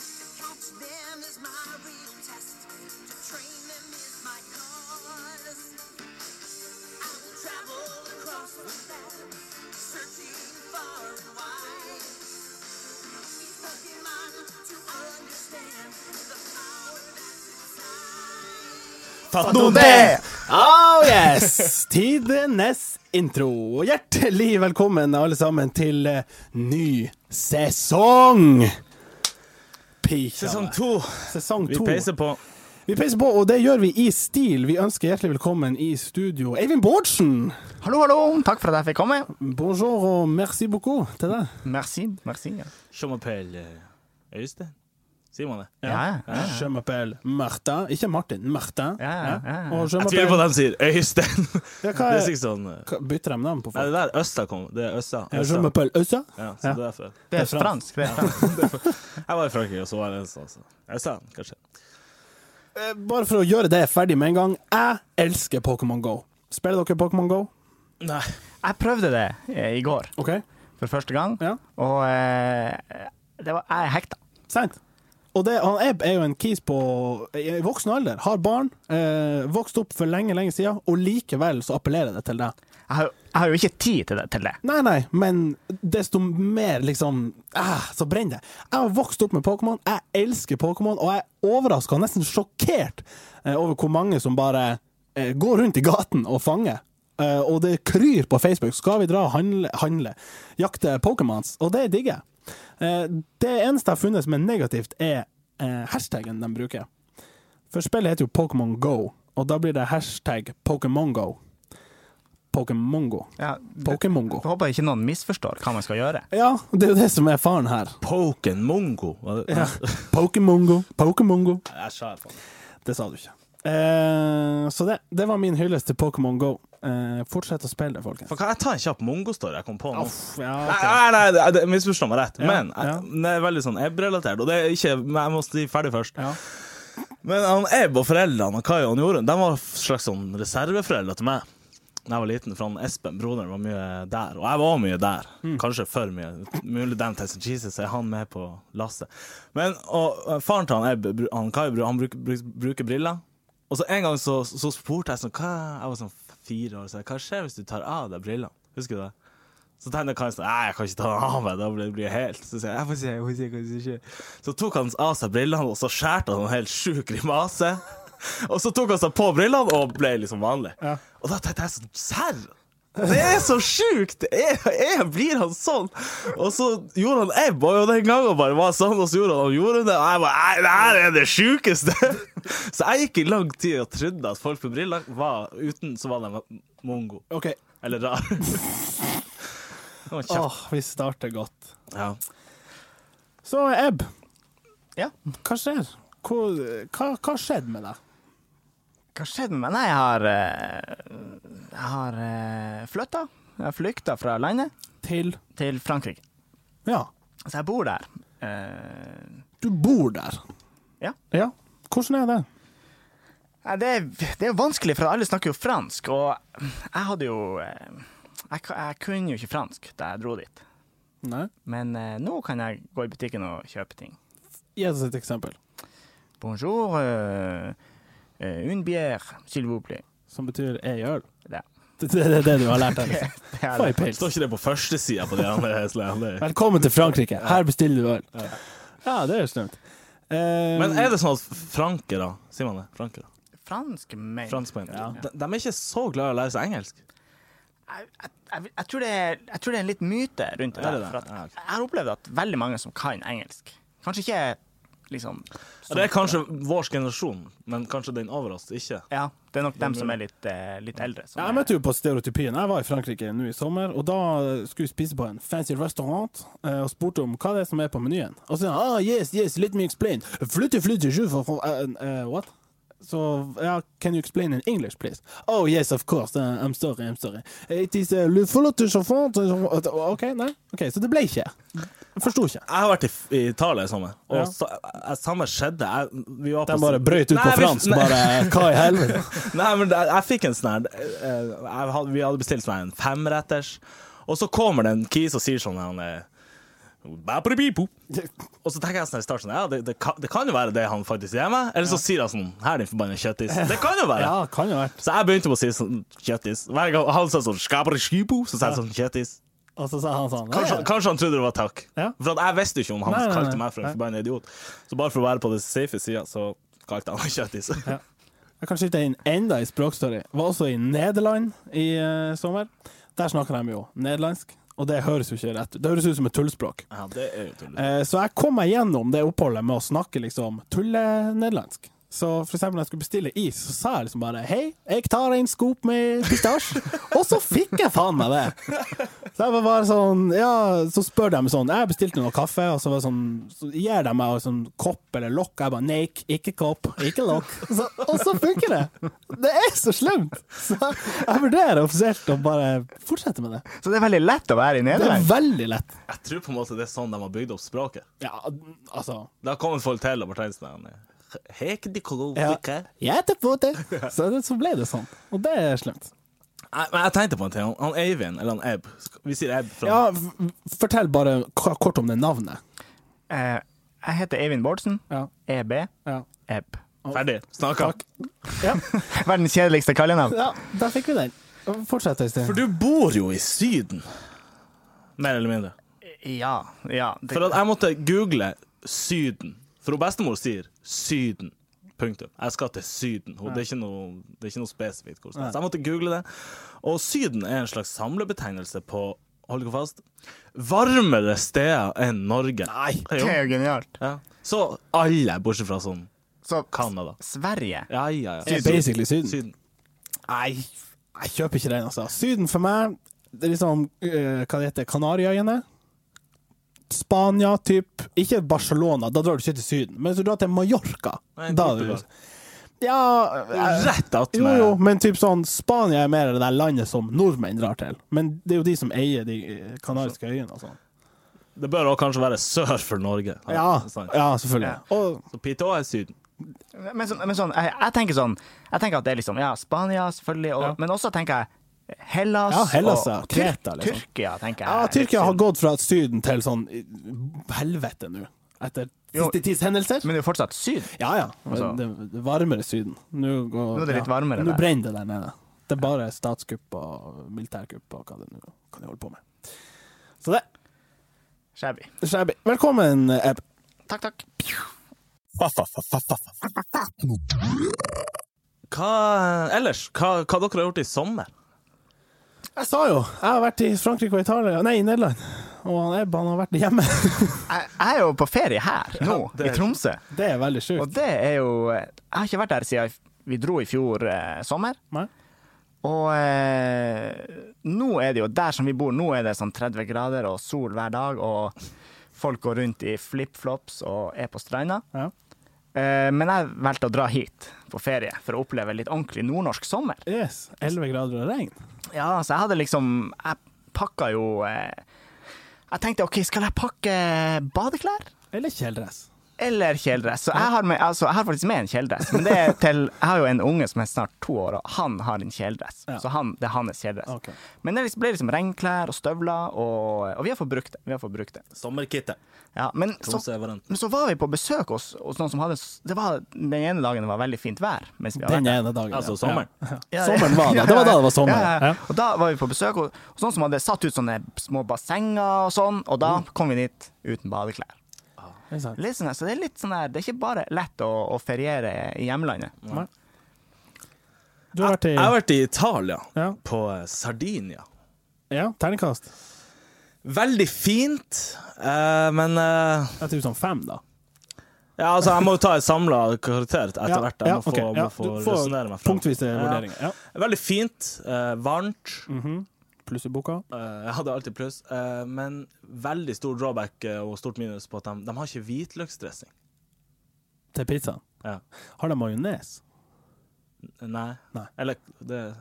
Teach them is my real test. To train them is my cause. I will travel across the land, searching far and wide. It's open mind to understand the power that's inside. Fatodé! Oh yes! Tidenes intro. Og Hjertelig velkommen alle sammen til eh, ny sesong! Pika. Sesong to. Sesong Vi to. peiser på. Vi peiser på, og det gjør vi i stil. Vi ønsker hjertelig velkommen i studio Eivind Bårdsen! Hallo, hallo. Takk for at jeg fikk komme. Bonjour og merci beaucoup til deg. Merci. merci. Ja, Sjåmapell eh, Øystein. Sier man det? ja. ja. Je m'appelle Martin. Ikke Martin, Martin. Ja, ja, ja. Og je Jeg tviler på m'appelle at de sier Øystein. Det Ja, hva er er- sikkert sånn eh, hva- Bytter de navn på Nei, folk? det der Østa kom. Det er Østa. Ja, Je Østa. m'appelle Øysa. Ja, så det er derfor. Det er fransk. Det er fransk. Jeg var i Frankrike, og så var jeg den som altså. Østa, kanskje. Eh, Bare for å gjøre det ferdig med en gang. Jeg elsker Pokémon Go. Spiller dere Pokémon Go? Nei. Jeg prøvde det eh, i går OK? for første gang, Ja. og eh, det var, jeg er hekta. Seint. Og det, han Ebb er jo en kis på i voksen alder. Har barn. Eh, vokst opp for lenge, lenge siden, og likevel så appellerer det til deg. Jeg har, jo- jeg har jo ikke tid til det. Til det. Nei, nei, men desto mer liksom ah, Så brenner det. Jeg har vokst opp med Pokémon, jeg elsker Pokémon, og jeg er overraska, nesten sjokkert, eh, over hvor mange som bare eh, går rundt i gaten og fanger. Eh, og det kryr på Facebook. Skal vi dra og handle, handle jakte Pokémons? Og det digger jeg. Eh, det eneste jeg har funnet som er negativt, er eh, hashtagen de bruker. For spillet heter jo Pokémon Go, og da blir det hashtag Pokémongo. Pokémongo. Ja, Pokémongo. jeg håper ikke noen misforstår hva man skal gjøre. Ja, det er jo det som er faren her. Poken Mongo. Var det? Pokémongo, Pokémongo. Jeg sa det faen. Det sa du ikke. Eh, så det, det var min hyllest til Pokémon Go. Eh, fortsett å spille det, folkens. For kan jeg ta en kjapp mongostory jeg kom på nå? Uff, ja, ok. ah! Nei, nei, nei, det- misforstå meg rett, Ja, men ja. det er veldig sånn Ebb-relatert. Og det er ikke, men jeg må si ferdig først. Ja. Men han Ebb og foreldrene og Kai og han Jorunn De var en slags sånn reserveforeldre til meg da jeg var liten. For han Espen, broderen, var mye der. Og jeg var mye der. Kanskje for mye. Mulig den testen Jesus er han med på lasset. Men og, og faren til han Ebb, bru- han Kai, bru- han bruker, bruker, bruker briller. Og så en gang så, så spurte jeg sånn hva, Jeg var sånn fire år, så jeg, hva skjer hvis du tar av deg brillene? Husker du det? Så tenkte jeg kanskje Nei, jeg kan ikke ta den av meg, da blir det helt Så sier jeg, jeg får se, jeg får se, jeg får se. Så tok han av seg brillene, og så skjærte han en helt sjuk grimase. Og så tok han seg på brillene og ble liksom vanlig. Og da tenkte jeg sånn Serr? Det er så sjukt! Er, er, blir han sånn? Og så gjorde han ebb, og jo den gangen bare var sånn, og så gjorde han, og gjorde det, og jeg bare Nei, det her er det sjukeste! Så jeg gikk i lang tid og trodde at folk med briller var uten, så var de mongo. OK. Eller rar. Det var kjapt. Åh, vi starter godt. Ja. Så Ebb, Ja. hva skjer? Hvor, hva, hva skjedde med deg? Hva skjedde med meg? Nei, jeg har, eh, jeg har eh, flytta. Jeg har flykta fra landet Til til Frankrike. Ja, Så jeg bor der. Eh, du bor der. Ja. ja. Hvordan er det? Nei, det, er, det er jo vanskelig, for alle snakker jo fransk, og jeg hadde jo eh, Jeg, ka- jeg kunne jo ikke fransk da jeg dro dit, Nei. men eh, nå kan jeg gå i butikken og kjøpe ting. Gi oss et eksempel, Bonjour, eh, eh, une bière, s'il vous plaît. som betyr ei øl. Det, Det det er det, du har lært deg. det er Få ei det. pils. Står ikke det på førstesida på de andre slemmene? Velkommen til Frankrike. Her bestiller du øl. Eh, Ja, det er jo snilt. Men er det sånn at frankere, sier man det? Frankere. Fransk, men Franskmenn. De, de er ikke så glad i å lære seg engelsk. jeg, jeg, jeg, jeg, tror det er, jeg tror det er en litt myte rundt det. Er det der, det? For at Ja, ok. Jeg har opplevd at veldig mange som kan engelsk, kanskje ikke liksom Ja, Det er kanskje vår generasjon, men kanskje den over oss ikke. Ja, det er nok dem som er litt, eh, litt eldre. Som Ja, Jeg er, møtte jo på stereotypien. Jeg var i Frankrike nå i sommer, og da skulle vi spise på en fancy restaurant eh, og spurte om hva det er som er på menyen. Og så sa han ah, yes, yes, let me explain. Flytte, flytte, je, for, for, eh, eh, what? Så ja, can you explain in English, please? Oh yes, of course. eh, I'm sorry, I'm sorry. It is eh, le flotte chauffant OK, nei. ok, Så det ble ikke. Jeg Forsto ikke. Jeg har vært i, i Italia i sommer, og Ja. sa- jeg- samme skjedde. Jeg, vi var De bare brøyt ut Nei, på vi- fransk. nei. Bare hva i helvete? Nei, men jeg, jeg fikk en sånn her eh, jeg hadde, Vi hadde bestilt sånn her en femretters, og så kommer det en kis og sier sånn her han, eh, Ba-ba-ba-bo. Og så tenker jeg sånn i starten Ja, det, det, kan, det kan jo være det han faktisk gir meg. Eller så sier han sånn Her, din forbanna kjøttis. Det kan jo være. Ja, kan jo vært. Så jeg begynte med å si sånn kjøttis. Hver gang han sa sånn skabraskibo, så sa jeg sånn kjøttis. Og så sa han sånn Kanskje, «Nei, kanskje han trodde det var takk. Ja. For at jeg visste jo ikke om han Nei, nei, nei. kalte meg for en forbanna idiot. Så bare for å være på det safe sida, så kalte han meg kjøttis. Jeg kan skyte inn enda i språkstory. Var også i Nederland i eh, sommer. Der snakker de jo nederlandsk, og det høres jo ikke rett ut. Det høres ut som et tullspråk. Ja, det er jo tull. Eh, Så jeg kom meg gjennom det oppholdet med å snakke liksom tulle-nederlandsk. Så for eksempel når jeg skulle bestille is, så sa jeg liksom bare Hei, jeg tar en skop med pistasje. og så fikk jeg faen meg det! Så jeg var bare sånn Ja, så spør de sånn Jeg bestilte noe kaffe, og så var det sånn Så gir de meg en sånn kopp eller lokk. Jeg bare Nei, ikke kopp, ikke lokk. Så, og så funker det! Det er så slemt! Så jeg vurderer offisielt å bare fortsette med det. Så det er veldig lett å være i Det er Nederland. veldig lett. Jeg tror på en måte det er sånn de har bygd opp språket. Ja, altså Det har kommet folk til og bare tenkt sånn Hek de kolok, Ja. ikke? Jeg heter Pote. Så, det- så ble det sånn. Og det er slemt. Nei, men jeg tenkte på en ting. Han- Han Eivind, eller han Ebb Vi sier Ebb. Fra. Ja, f- fortell bare k- kort om det navnet. Eh, jeg heter Eivind Bårdsen. E Ja. EB. Ja. Ebb. Ferdig. Snakka. Takk. Ja, Verdens kjedeligste kallenavn. ja, der fikk vi den. Fortsett, Øystein. For du bor jo i Syden. Mer eller mindre. Ja. ja det, For at jeg måtte google Syden. For hun bestemor sier Syden. Punktum. Jeg skal til Syden. Hun, det, er ikke noe, det er ikke noe spesifikt. hvor hun skal. Så jeg måtte google det. Og Syden er en slags samlebetegnelse på Hold dere fast varmere steder enn Norge. Nei, det er jo genialt. ja. Så alle, bortsett fra sånn Så Canada. Sverige Ja, ja, ja. er basically Syden. Syden. Nei, jeg kjøper ikke den, altså. Syden for meg, det er liksom eh, Hva det heter Kanariøyene? Spania, typ. Ikke Barcelona, da drar du ikke til Syden. Men hvis du drar til Mallorca, Nei, da er Portugal. du Ja, eh, jeg- Rett att Jo, med jo, men typ sånn Spania er mer det der landet som nordmenn drar til. Men det er jo de som eier de eh, kanariske øyene og sånn. Det bør også kanskje være sør for Norge. Ja, sant. ja, selvfølgelig. Og Så Pitå er Syden. Men, sånn- men sånn, jeg, jeg tenker sånn Jeg tenker at det er liksom Ja, Spania, selvfølgelig, og, Ja. men også tenker jeg Hellas, Ja, Hellas, og, ja, og Kreta, liksom. Tyrkia, tenker jeg. ja, Tyrkia har gått fra Syden til sånn i- helvete nå, etter Jo. siste tids hendelser. Men det er jo fortsatt syd. Ja ja, men det, det varmere Syden. Nå, går, Nå er det litt ja. varmere Nå der. brenner det der nede. Det er bare statskupp og militærkupp og hva det nå kan de holde på med. Så det. Shabby. Shabby. Velkommen, Eb. Takk, takk. Hva ellers? Hva, hva dere har gjort i sommer? Jeg sa jo, jeg har vært i Frankrike og Italia, nei, i Nederland. Og han Ebb han har vært hjemme. Jeg, jeg er jo på ferie her nå, det er- i Tromsø. Det er veldig Og sjukt. det er jo eh, Jeg har ikke vært der siden jeg- vi dro i fjor eh, sommer. Nei? Og eh, nå er det jo der som vi bor, nå er det sånn 30 grader og sol hver dag, og folk går rundt i flipflops og er på stranda. Ja. Eh, men jeg valgte å dra hit på ferie for å oppleve litt ordentlig nordnorsk sommer. Yes. 11 grader og regn. Ja, så jeg hadde liksom Jeg pakka jo eh, Jeg tenkte OK, skal jeg pakke badeklær? Eller kjeledress. Eller kjeledress. Så jeg har, med, altså, jeg har faktisk med en kjeledress. Men det er til, jeg har jo en unge som er snart to år, og han har en kjeledress. Ja. Så han, det er hans kjeledress. Ok. Men det liksom- ble liksom regnklær og støvler, og, og vi har fått brukt det. Vi har fått brukt det. Sommerkittet. Ja, men, så, Tromsø er varmt. men så var vi på besøk hos, hos noen som hadde det var, Den ene dagen det var veldig fint vær. Mens vi har vært Den ene dagen. Altså ja. sommeren. Ja. ja, ja. Sommeren var Ja, det. ja, Det var da det var ja, sommer. ja, ja. Ja. Og da var vi på besøk hos hos noen som hadde satt ut sånne små bassenger og sånn, og da Mm. kom vi dit uten badeklær. Ikke sant? Litt sånn, her, så det er litt sånn her, det er ikke bare lett å, å feriere i hjemlandet. Du har vært i Jeg har vært i Italia, Ja. på eh, Sardinia. ja, terningkast. Veldig fint, eh, men eh, Jeg tror sånn fem, da. Ja, altså, jeg må jo ta en samla karakter etter Ja, hvert. Jeg må ja, ok, få, ja. må få Du får resonnere meg fram. Punktvise Ja. vurderinger. Mm. Ja. Veldig fint, eh, varmt. Pluss i boka. Eh, jeg hadde alltid pluss, eh, men veldig stor drawback eh, og stort minus på at de, de har ikke hvitløksdressing. Til pizzaen. Ja. Har de majones? Nei. Nei. Eller det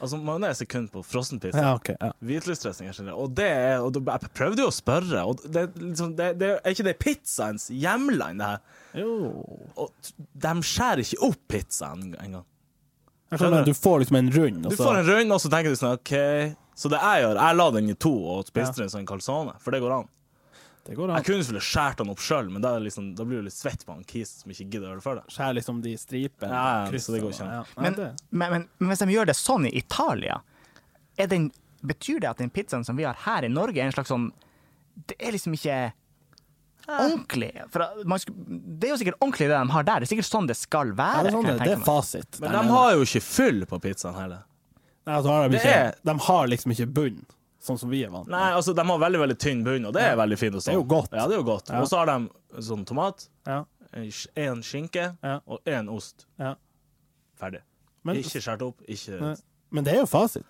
Altså, majones er kun på frossenpizza. Ja, OK. Ja. Hvitløksdressing er generelt. Og det er og da- Jeg prøvde jo å spørre, og det, er liksom, det, det er ikke det pizzaens hjemland, det her. Jo. Og t- de skjærer ikke opp pizzaen en- engang. Jeg skjønner, du får liksom en rund, og Du så får en rund, og så tenker du sånn OK. Så det jeg gjør, jeg la den i to og spiste den som en calzone, for det går an. Det går Jeg an. kunne selvfølgelig skåret han opp sjøl, men da, er det liksom, da blir du litt svett på han kisen som ikke gidder å gjøre det for deg. Skjærer liksom de stripene. Ja, ja, kryss så det går og- sånn. ikke an. ja. Nei, Men, det- men, men, men hvis de gjør det sånn i Italia, er den, betyr det at den pizzaen som vi har her i Norge, er en slags sånn Det er liksom ikke ordentlig. For at man, sku- det er jo sikkert ordentlig det de har der. Det er sikkert sånn det skal Ja, være. det, er sånn, det, kan jeg det er tenke meg. fasit. Men Der de nede. har jo ikke fyll på pizzaen heller. Nei, altså, har de, Det ikke, er- de har liksom ikke bunn, sånn som vi er vant Nei, altså, de har veldig veldig tynn bunn, og det er veldig fint å stå. Det er jo godt. Ja, det er jo godt. Og så har de sånn tomat, Ja, én skinke Ja. og én ost. ja. Ferdig. Men- ikke skåret opp, ikke Nei. Men det er jo fasit.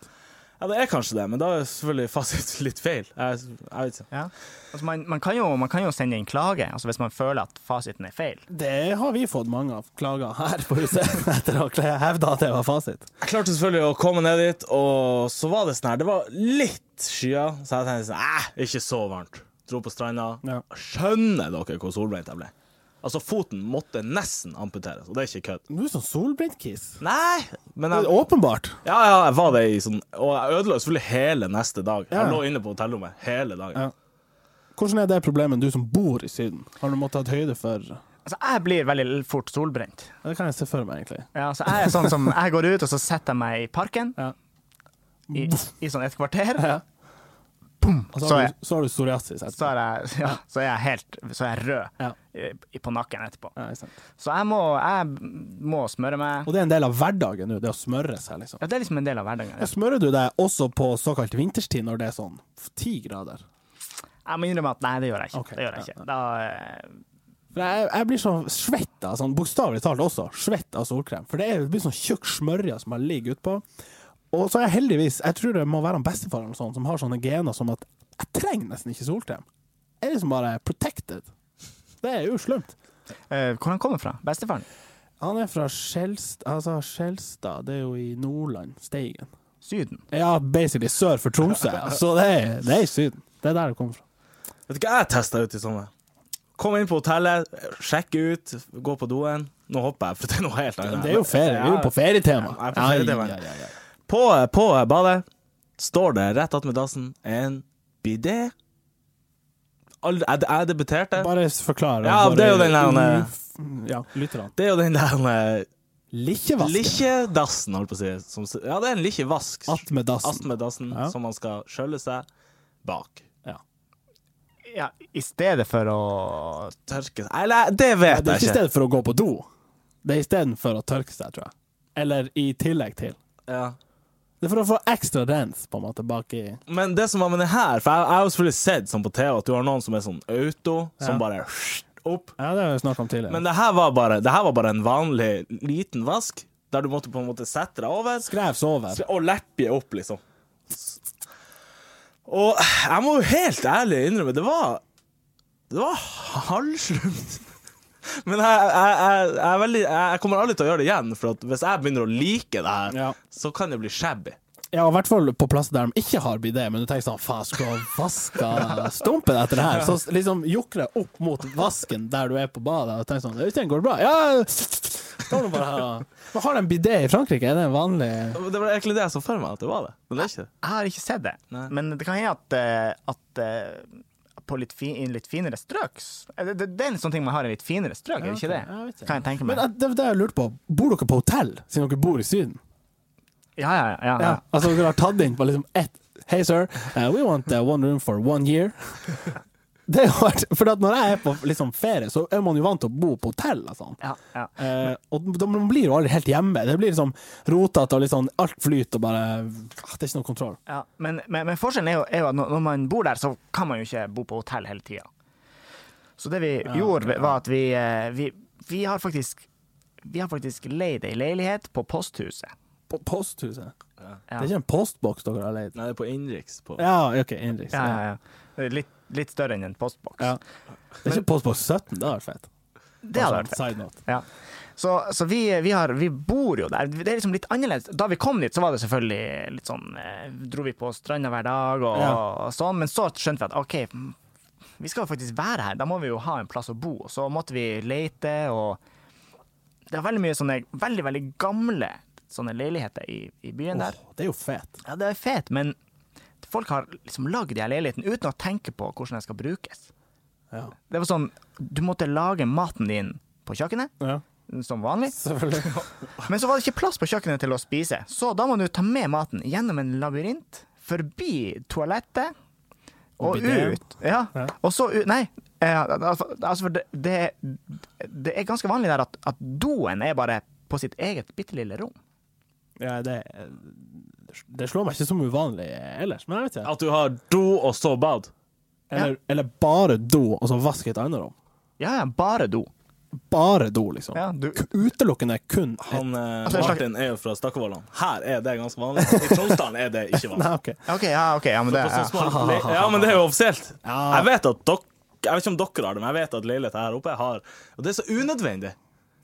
Ja, det er kanskje det, men da er selvfølgelig fasit litt feil. Jeg, jeg vet ikke. Ja. Altså, man, man, kan jo, man kan jo sende inn klage altså, hvis man føler at fasiten er feil. Det har vi fått mange av klager her på huset etter å hevde at det var fasit. Jeg klarte selvfølgelig å komme ned dit, og så var det sånn her Det var litt skyer, så jeg tenkte sånn Æh, ikke så varmt. Dro på stranda. Ja. Skjønner dere hvor solbrent jeg ble? Altså, foten måtte nesten amputeres, og det er ikke kødd. Du er sånn solbrent-kis. Nei, men Det er jeg, Åpenbart. ja, ja, jeg var det i sånn Og jeg ødela selvfølgelig hele neste dag. Ja. Jeg lå inne på hotellrommet hele dagen. Ja. Hvordan er det problemet, du som bor i Syden? Har du måttet hatt høyde for Ja, Altså, jeg blir veldig fort solbrent. Det kan jeg se for meg, egentlig. Ja, så jeg er sånn som Jeg går ut, og så setter jeg meg i parken Ja. i, i sånn et kvarter. Ja. Og så Så har, jeg- du, så har du psoriasis etterpå. Så er jeg, ja, så er jeg helt Så er jeg rød Ja. eh, i- på nakken etterpå. Ja, ikke sant. Så jeg må, jeg må smøre meg. Og det er en del av hverdagen nå, det å smøre seg, liksom. Ja, det er liksom en del av hverdagen. Smører du deg også på såkalt vinterstid, når det er sånn ti grader? Jeg må innrømme at nei, det gjør jeg ikke. Ok, Det gjør jeg ja, ikke. Da, eh, For jeg, jeg blir så svett av sånn, bokstavelig talt også, svett av solkrem. For det, er, det blir sånn tjukk smørje som jeg ligger utpå. Og så er jeg heldigvis, jeg tror det må være han bestefar eller noe sånt, som har sånne gener som at jeg trenger nesten ikke solkrem. Jeg er liksom bare protected. Det er jo slemt. eh, hvor han kommer fra? Bestefaren? Han er fra Skjelstad, altså Skjelstad, det er jo i Nordland, Steigen. Syden? Ja, basically sør for Tromsø, så det er, det er i Syden. Det er der det kommer fra. Vet du hva jeg testa ut i sommer? Kom inn på hotellet, sjekke ut, gå på doen. Nå hopper jeg, for det er noe helt annet. Det er jo ferie, vi er jo på ferietema. Ja, jeg er på ferietema. På, på badet står det rett attmed dassen en bidé. Aldri- Jeg, jeg debuterte. Bare forklar. Ja, bare- det er jo den der- eh, Ja, lytterne. Det er jo den der Likkjevask. likkjedassen, holdt på å si. Som, s- ja, det er en likkjevask. Attmed dassen. Astmedassen Ja. som man skal skjølle seg bak. Ja. Ja, i stedet for å Tørke seg Eller, det vet Det er ikke i jeg ikke. stedet for å gå på do. Det er i stedet for å tørke seg, tror jeg. Eller i tillegg til. Ja. Det er for å få ekstra rens, på en måte, bak i Men det som var med det her, for jeg, jeg har jo selvfølgelig sett sånn på TV at du har noen som er sånn auto, som Ja. bare opp. Ja, det har vi snakket om tidligere. Men det her, var bare, det her var bare en vanlig liten vask, der du måtte på en måte sette deg over skrevs over. og leppe opp, liksom. Og jeg må jo helt ærlig innrømme, det var Det var halvslumt. Men jeg, jeg, jeg, jeg, er veldig, jeg kommer aldri til å gjøre det igjen, for at hvis jeg begynner å like det her, Ja. så kan det bli shabby. Ja, i hvert fall på plasser der de ikke har bidé, men du tenker sånn faen, skal jeg vaske stumpen etter det her? Så liksom jukle opp mot vasken der du er på badet, og tenker sånn Det går bra. Ja, står nå bare her og Men Har de bidé i Frankrike? Er det en vanlig Det var egentlig det jeg så for meg at det var det, men det er ikke det. Jeg har ikke sett det, Nei. men det kan hende at, eh, at eh, på litt, fi, i litt finere strøk s- eh, det, det er en sånn ting man har i litt finere strøk, er det ikke det? Ja, jeg vet ikke. Kan jeg tenke Men eh, meg. det er det jeg lurte på. Bor dere på hotell, siden dere bor i Syden? Ja, ja, ja. ja. Ja, altså dere har tatt inn på liksom ett Hei, sir, uh, we want uh, one room for one year. Det har vært, for at når jeg er på liksom, ferie, så er man jo vant til å bo på hotell. og sånn. ja, ja. Eh, og da- man blir jo aldri helt hjemme. Det blir liksom rotete og litt sånn alt flyter og bare ah, Det er ikke noe kontroll. Ja, men, men, men forskjellen er jo, er jo at når når man bor der, så kan man jo ikke bo på hotell hele tida. Så det vi gjorde, var at vi, eh, vi, vi har faktisk vi har faktisk leid ei leilighet på posthuset. På posthuset. Det Ja. er ikke en postboks dere har leid? Nei, det er på innenriks. på- Ja, OK, innenriks. Ja, ja, ja. Det er eh, Litt, litt større enn en postboks. Ja. Det er ikke postboks 17, det hadde vært fett. sånn Det hadde vært fett. Side note. Ja. Så, så vi, vi, har, vi bor jo der. Det er liksom litt annerledes. Da vi kom dit, så var det selvfølgelig litt sånn eh, Dro vi på stranda hver dag og, Ja. og sånn, men så skjønte vi at OK, vi skal jo faktisk være her. Da må vi jo ha en plass å bo. Og så måtte vi lete og Det er veldig mye sånne veldig, veldig gamle sånne leiligheter i, i byen der. Åh, det er jo fett. Ja, det er fet, men folk har liksom lagd de her leilighetene uten å tenke på hvordan de skal brukes. Ja. Det var sånn, du måtte lage maten din på kjøkkenet, ja. som vanlig. Selvfølgelig. Men så var det ikke plass på kjøkkenet til å spise, så da må du ta med maten gjennom en labyrint, forbi toalettet Og og bidéen. ut. Ja. Ja. Og så ut Nei. eh, Altså, altså, for det, det, det er ganske vanlig der at, at doen er bare på sitt eget bitte lille rom. Ja, det, det slår meg ikke som uvanlig ellers, men jeg vet ikke. At du har do og så bad. Eller, eller bare do, og så vask i et annet rom. Ja, ja, bare do. Bare do, liksom. Ja, du, K- Utelukkende kun et Han eh, Altså, jeg snakker- Martin er jo fra Stakkevollan. Her er det ganske vanlig. I Tromsdalen er det ikke vanlig. Nei, OK. OK, ja, ok, ja, men det På så ja. små le- Ja, men det er jo offisielt. Ja. Jeg vet at dere jeg vet ikke om dere har det, men jeg vet at leiligheter her oppe har Og det er så unødvendig.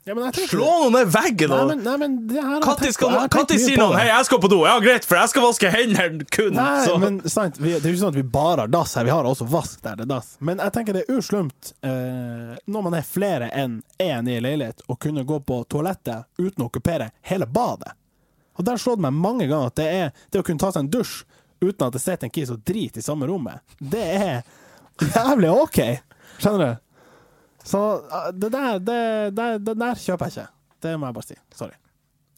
Ja, men jeg tenker- Slå noen i veggen Nei, og men, nei, men det her har jeg Katti tenkt skal- på. Jeg har tenkt Katti mye sier på noen det. 'Hei, jeg skal på do'. Ja, greit, for jeg skal vaske hendene kun. Nei, så. men sant, vi, det er jo ikke sånn at vi bare har dass her, vi har også vask der det er dass. Men jeg tenker det er uslumt eh, når man er flere enn én i en leilighet, å kunne gå på toalettet uten å okkupere hele badet. Og der slår det meg mange ganger at det er det å kunne ta seg en dusj uten at det sitter en kis og driter i samme rommet, det er jævlig OK. Skjønner du? Så eh, det der, det, det, det der kjøper jeg ikke. Det må jeg bare si. Sorry.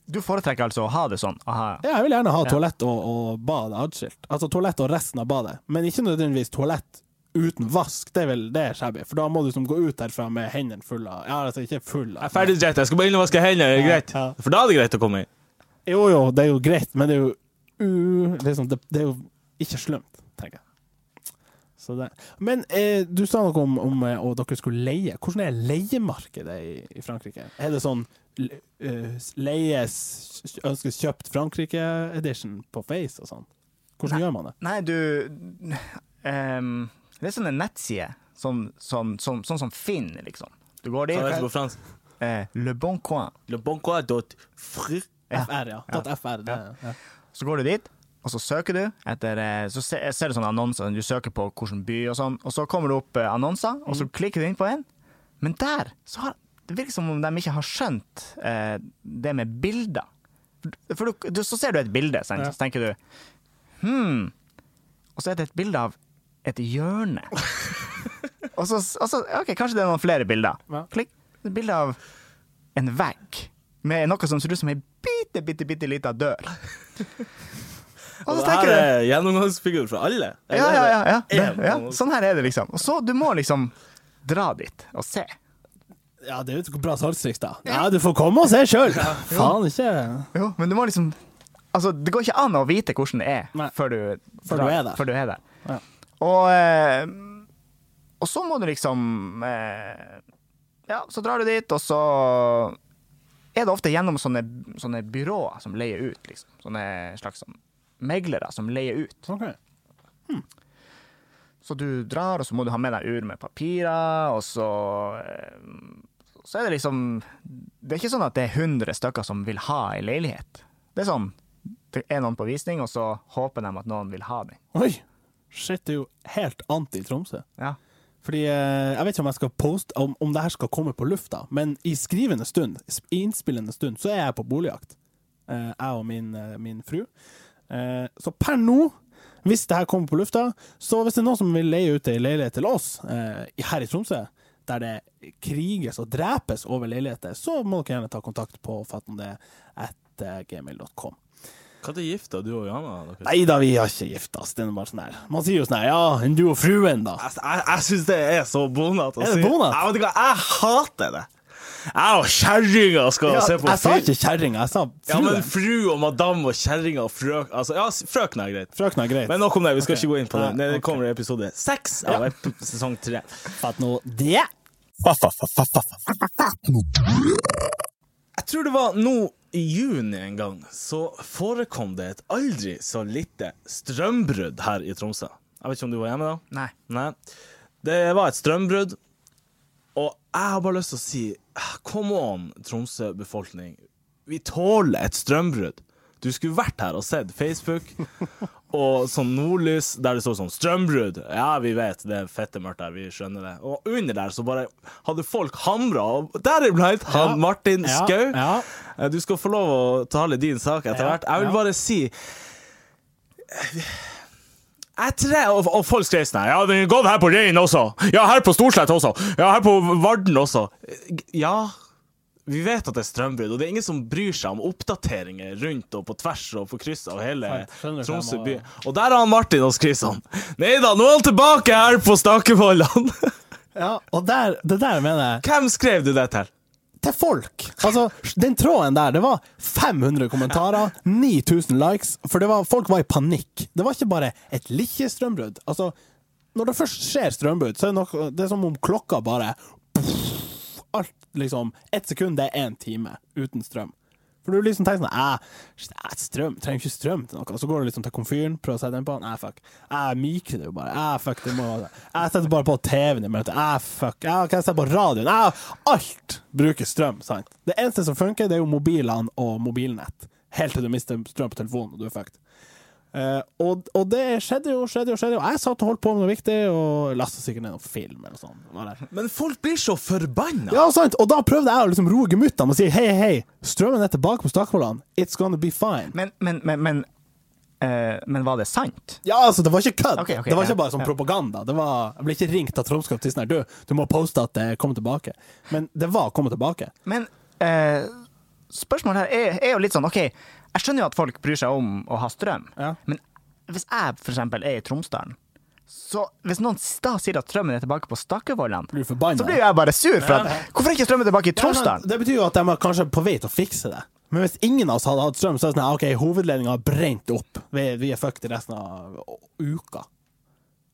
Du foretrekker altså å ha det sånn? Aha. Ja, jeg vil gjerne ha toalett og, og bad adskilt. Altså toalett og resten av badet, men ikke nødvendigvis toalett uten vask. Det er vel det er shabby, for da må du liksom gå ut derfra med hendene fulle av Ja, altså ikke full Jeg er av ferdig dreit, jeg skal bare inn og vaske hendene. Er det greit? Ja. For da er det greit å komme inn. Jo jo, det er jo greit, men det er jo u, liksom, det, det er jo ikke slumt, tenker jeg. Så det. Men eh, du sa noe om, om eh, å dere skulle leie. Hvordan er leiemarkedet i, i Frankrike? Er det sånn le- eh, leies ønskes kjøpt Frankrike-edition på Face og sånn? Hvordan gjør man det? Nei, du ehm, Det er sånne nettsider, sånn, sånn, sånn, sånn som Finn, liksom. Du går Hva heter det dit. på fransk? Eh, Le Bon Coin. Le bon quoi dot fri. Ja. FR, ja. .fr, det, ja. Så går du dit, og så søker du etter eh, Så se- ser du sånne annonser, du søker på hvilken by og sånn, og så kommer det opp eh, annonser, og så klikker du inn på en, men der så har Det virker som om de ikke har skjønt eh, det med bilder. For du, du, så ser du et bilde, sant? Ja. så tenker du Hm. Og så er det et bilde av et hjørne. og, så, og så OK, kanskje det er noen flere bilder. Ja. Klikk. Et bilde av en vegg med noe som ser ut som ei bitte, bitte, bitte lita dør. Og Og så det her tenker du er gjennomgangsfigur fra alle. ja, ja, ja, ja, Eller er det ja. en? Sånn her er det, liksom. Og så du må liksom dra dit og se. ja, det er jo et bra salgstriks, da. Ja, du får komme og se sjøl! Faen ikke Jo, men du må liksom Altså, det går ikke an å vite hvordan det er Nei. før du, Før drar- du er der. Før du er der. Ja. Og, eh, og så må du liksom eh, Ja, så drar du dit, og så er det ofte gjennom sånne, sånne byråer som leier ut, liksom. Sånne slags sånn meglere som leier ut. Ok. Så du drar, og så må du ha med deg ur med papirer, og så eh, Så er det liksom Det er ikke sånn at det er 100 stykker som vil ha ei leilighet. Det er sånn Det er noen på visning, og så håper de at noen vil ha den. Oi! Shit, det er jo helt anti Tromsø. Ja. Fordi eh, Jeg vet ikke om jeg skal poste om, om det her skal komme på lufta, men i skrivende stund, sp- i innspillende stund, så er jeg på boligjakt. Eh, jeg og min, eh, min fru. Eh, så per nå, hvis det her kommer på lufta, så hvis det er noen som vil leie ut ei leilighet til oss eh, i- her i Tromsø, der det kriges og drepes over leiligheter, så må dere gjerne ta kontakt på fattomdet.gmail.com. Når gifta du og Johanna dere? Nei da, vi har ikke gifta oss. Det er bare sånn her. Man sier jo sånn her, ja, enn du og fruen, da. Jeg, altså, jeg, jeg syns det er så bonat å Er det bonat? Jeg, vet ikke, hva, jeg hater det. Jeg og kjerringa skal Ja, se på jeg sa film. ikke kjerringa, jeg sa Ja, fruen. men fru og madam og kjerringa og frøk altså, Ja, s- frøken er greit. Frøken er greit. Men nok om det, vi skal Ok. ikke gå inn på det. Nei, Det ok. kommer i episode seks av ep- sesong tre. Fatt nå det. Jeg tror det var nå i juni en gang, så forekom det et aldri så lite strømbrudd her i Tromsø. Jeg vet ikke om du var hjemme da? Nei. Nei. Det var et strømbrudd, og jeg har bare lyst til å si ah, Come on, Tromsø-befolkning. Vi tåler et strømbrudd. Du skulle vært her og sett Facebook og sånn nordlys der det står sånn 'strømbrudd'. Ja, vi vet det er fette mørkt der, vi skjønner det. Og under der så bare hadde folk hamra, og deriblant han Ja. Martin Ja, Skau. ja. Eh, Du skal få lov å tale din sak etter Ja, hvert. Jeg vil ja. bare si Jeg tre, og, og folk skrev sånn her, Ja, den har gått her på Rein også. Ja, her på Storslett også. Ja, her på Varden også. Ja, vi vet at det er strømbrudd, og det er ingen som bryr seg om oppdateringer rundt og på tvers og på kryss av hele Sant, skjønner du hva Tromsø jeg må- by. Og der har han Martin og skriver sånn Nei da, nå er han tilbake her på Stakevollene. Ja, og der, det der mener jeg Hvem skrev du det til? til folk. Altså, den tråden der, det var 500 kommentarer, 9000 likes, for det var, folk var i panikk. Det var ikke bare et lite strømbrudd. Altså, når det først skjer strømbrudd, så er det, nok, det er som om klokka bare Alt, liksom Ett sekund, det er én time uten strøm. For du liksom tenker sånn Æ, shit, æ, strøm, trenger ikke strøm til noe. Og så går du liksom til komfyren, prøver å sette den på. Æ, fuck. Jeg myker det jo bare. Æ, fuck. Det må Jeg setter bare på TV-en i møtet. Æ, fuck. Æ, kan jeg sette på radioen? Æ, alt bruker strøm, sant. Det eneste som funker, det er jo mobilene og mobilnett. Helt til du mister strøm på telefonen og du er fucked. Eh, og, og det skjedde jo, skjedde jo, skjedde jo. Jeg satt og holdt på med noe viktig, og lasta sikkert ned noen film eller noe sånt. Bare. Men folk blir så forbanna. Ja, sant. Og da prøvde jeg å liksom roe gemyttene og si hei, hei, strømmen er tilbake på Stakkevollene. It's gonna be fine. Men, men, men, men, eh, men var det sant? Ja, altså, det var ikke kødd. Ok, ok, det var ja, ikke bare sånn ja. propaganda. Det var, jeg ble ikke ringt av Tromsø til sånn her, du, du må poste at det kom tilbake. Men det var kommet tilbake. Men eh, spørsmålet her er, er jo litt sånn, ok, jeg skjønner jo at folk bryr seg om å ha strøm, Ja. men hvis jeg for eksempel er i Tromsdalen, så hvis noen da sier at strømmen er tilbake på Stakkevollene, Blir du forbanna? så blir jo jeg bare sur, for at, hvorfor er ikke strømmen tilbake i Ja, men Tromsdalen? det betyr jo at de er kanskje på vei til å fikse det. Men hvis ingen av oss hadde hatt strøm, så er det sånn her, OK, hovedledninga har brent opp. Vi, vi er fucked i resten av uka.